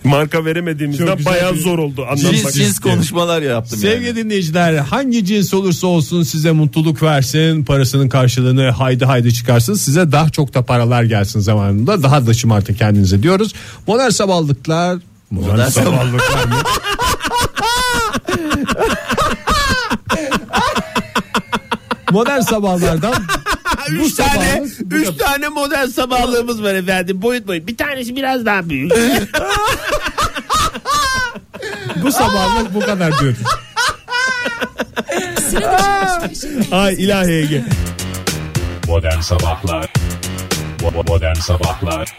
[SPEAKER 4] Marka
[SPEAKER 2] Çok
[SPEAKER 4] veremediğimizde
[SPEAKER 2] güzel
[SPEAKER 4] bayağı
[SPEAKER 2] bir-
[SPEAKER 4] zor oldu. Anlamda.
[SPEAKER 3] Cins cins konuşmalar yaptım. yani.
[SPEAKER 2] Sevgili dinleyiciler hangi cins olursa olsun size mutluluk versin parasının karşılığını haydi haydi çıkarsın size daha çok da paralar gelsin zamanında daha da şımartın kendinize diyoruz. Modern sabahlıklar Modern,
[SPEAKER 3] sabah-
[SPEAKER 2] sabahlıklar mı? Modern sabahlardan bu sabahlık bu kadar.
[SPEAKER 4] tane model sabahlığımız var efendim. Boyut boyut. Bir tanesi biraz daha büyük.
[SPEAKER 2] Bu sabahlık bu kadar diyoruz. Ay ilahi Ege.
[SPEAKER 8] Modern Sabahlar Bo- bo- Modern Sabahlar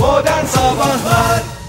[SPEAKER 1] Modern Sabahlar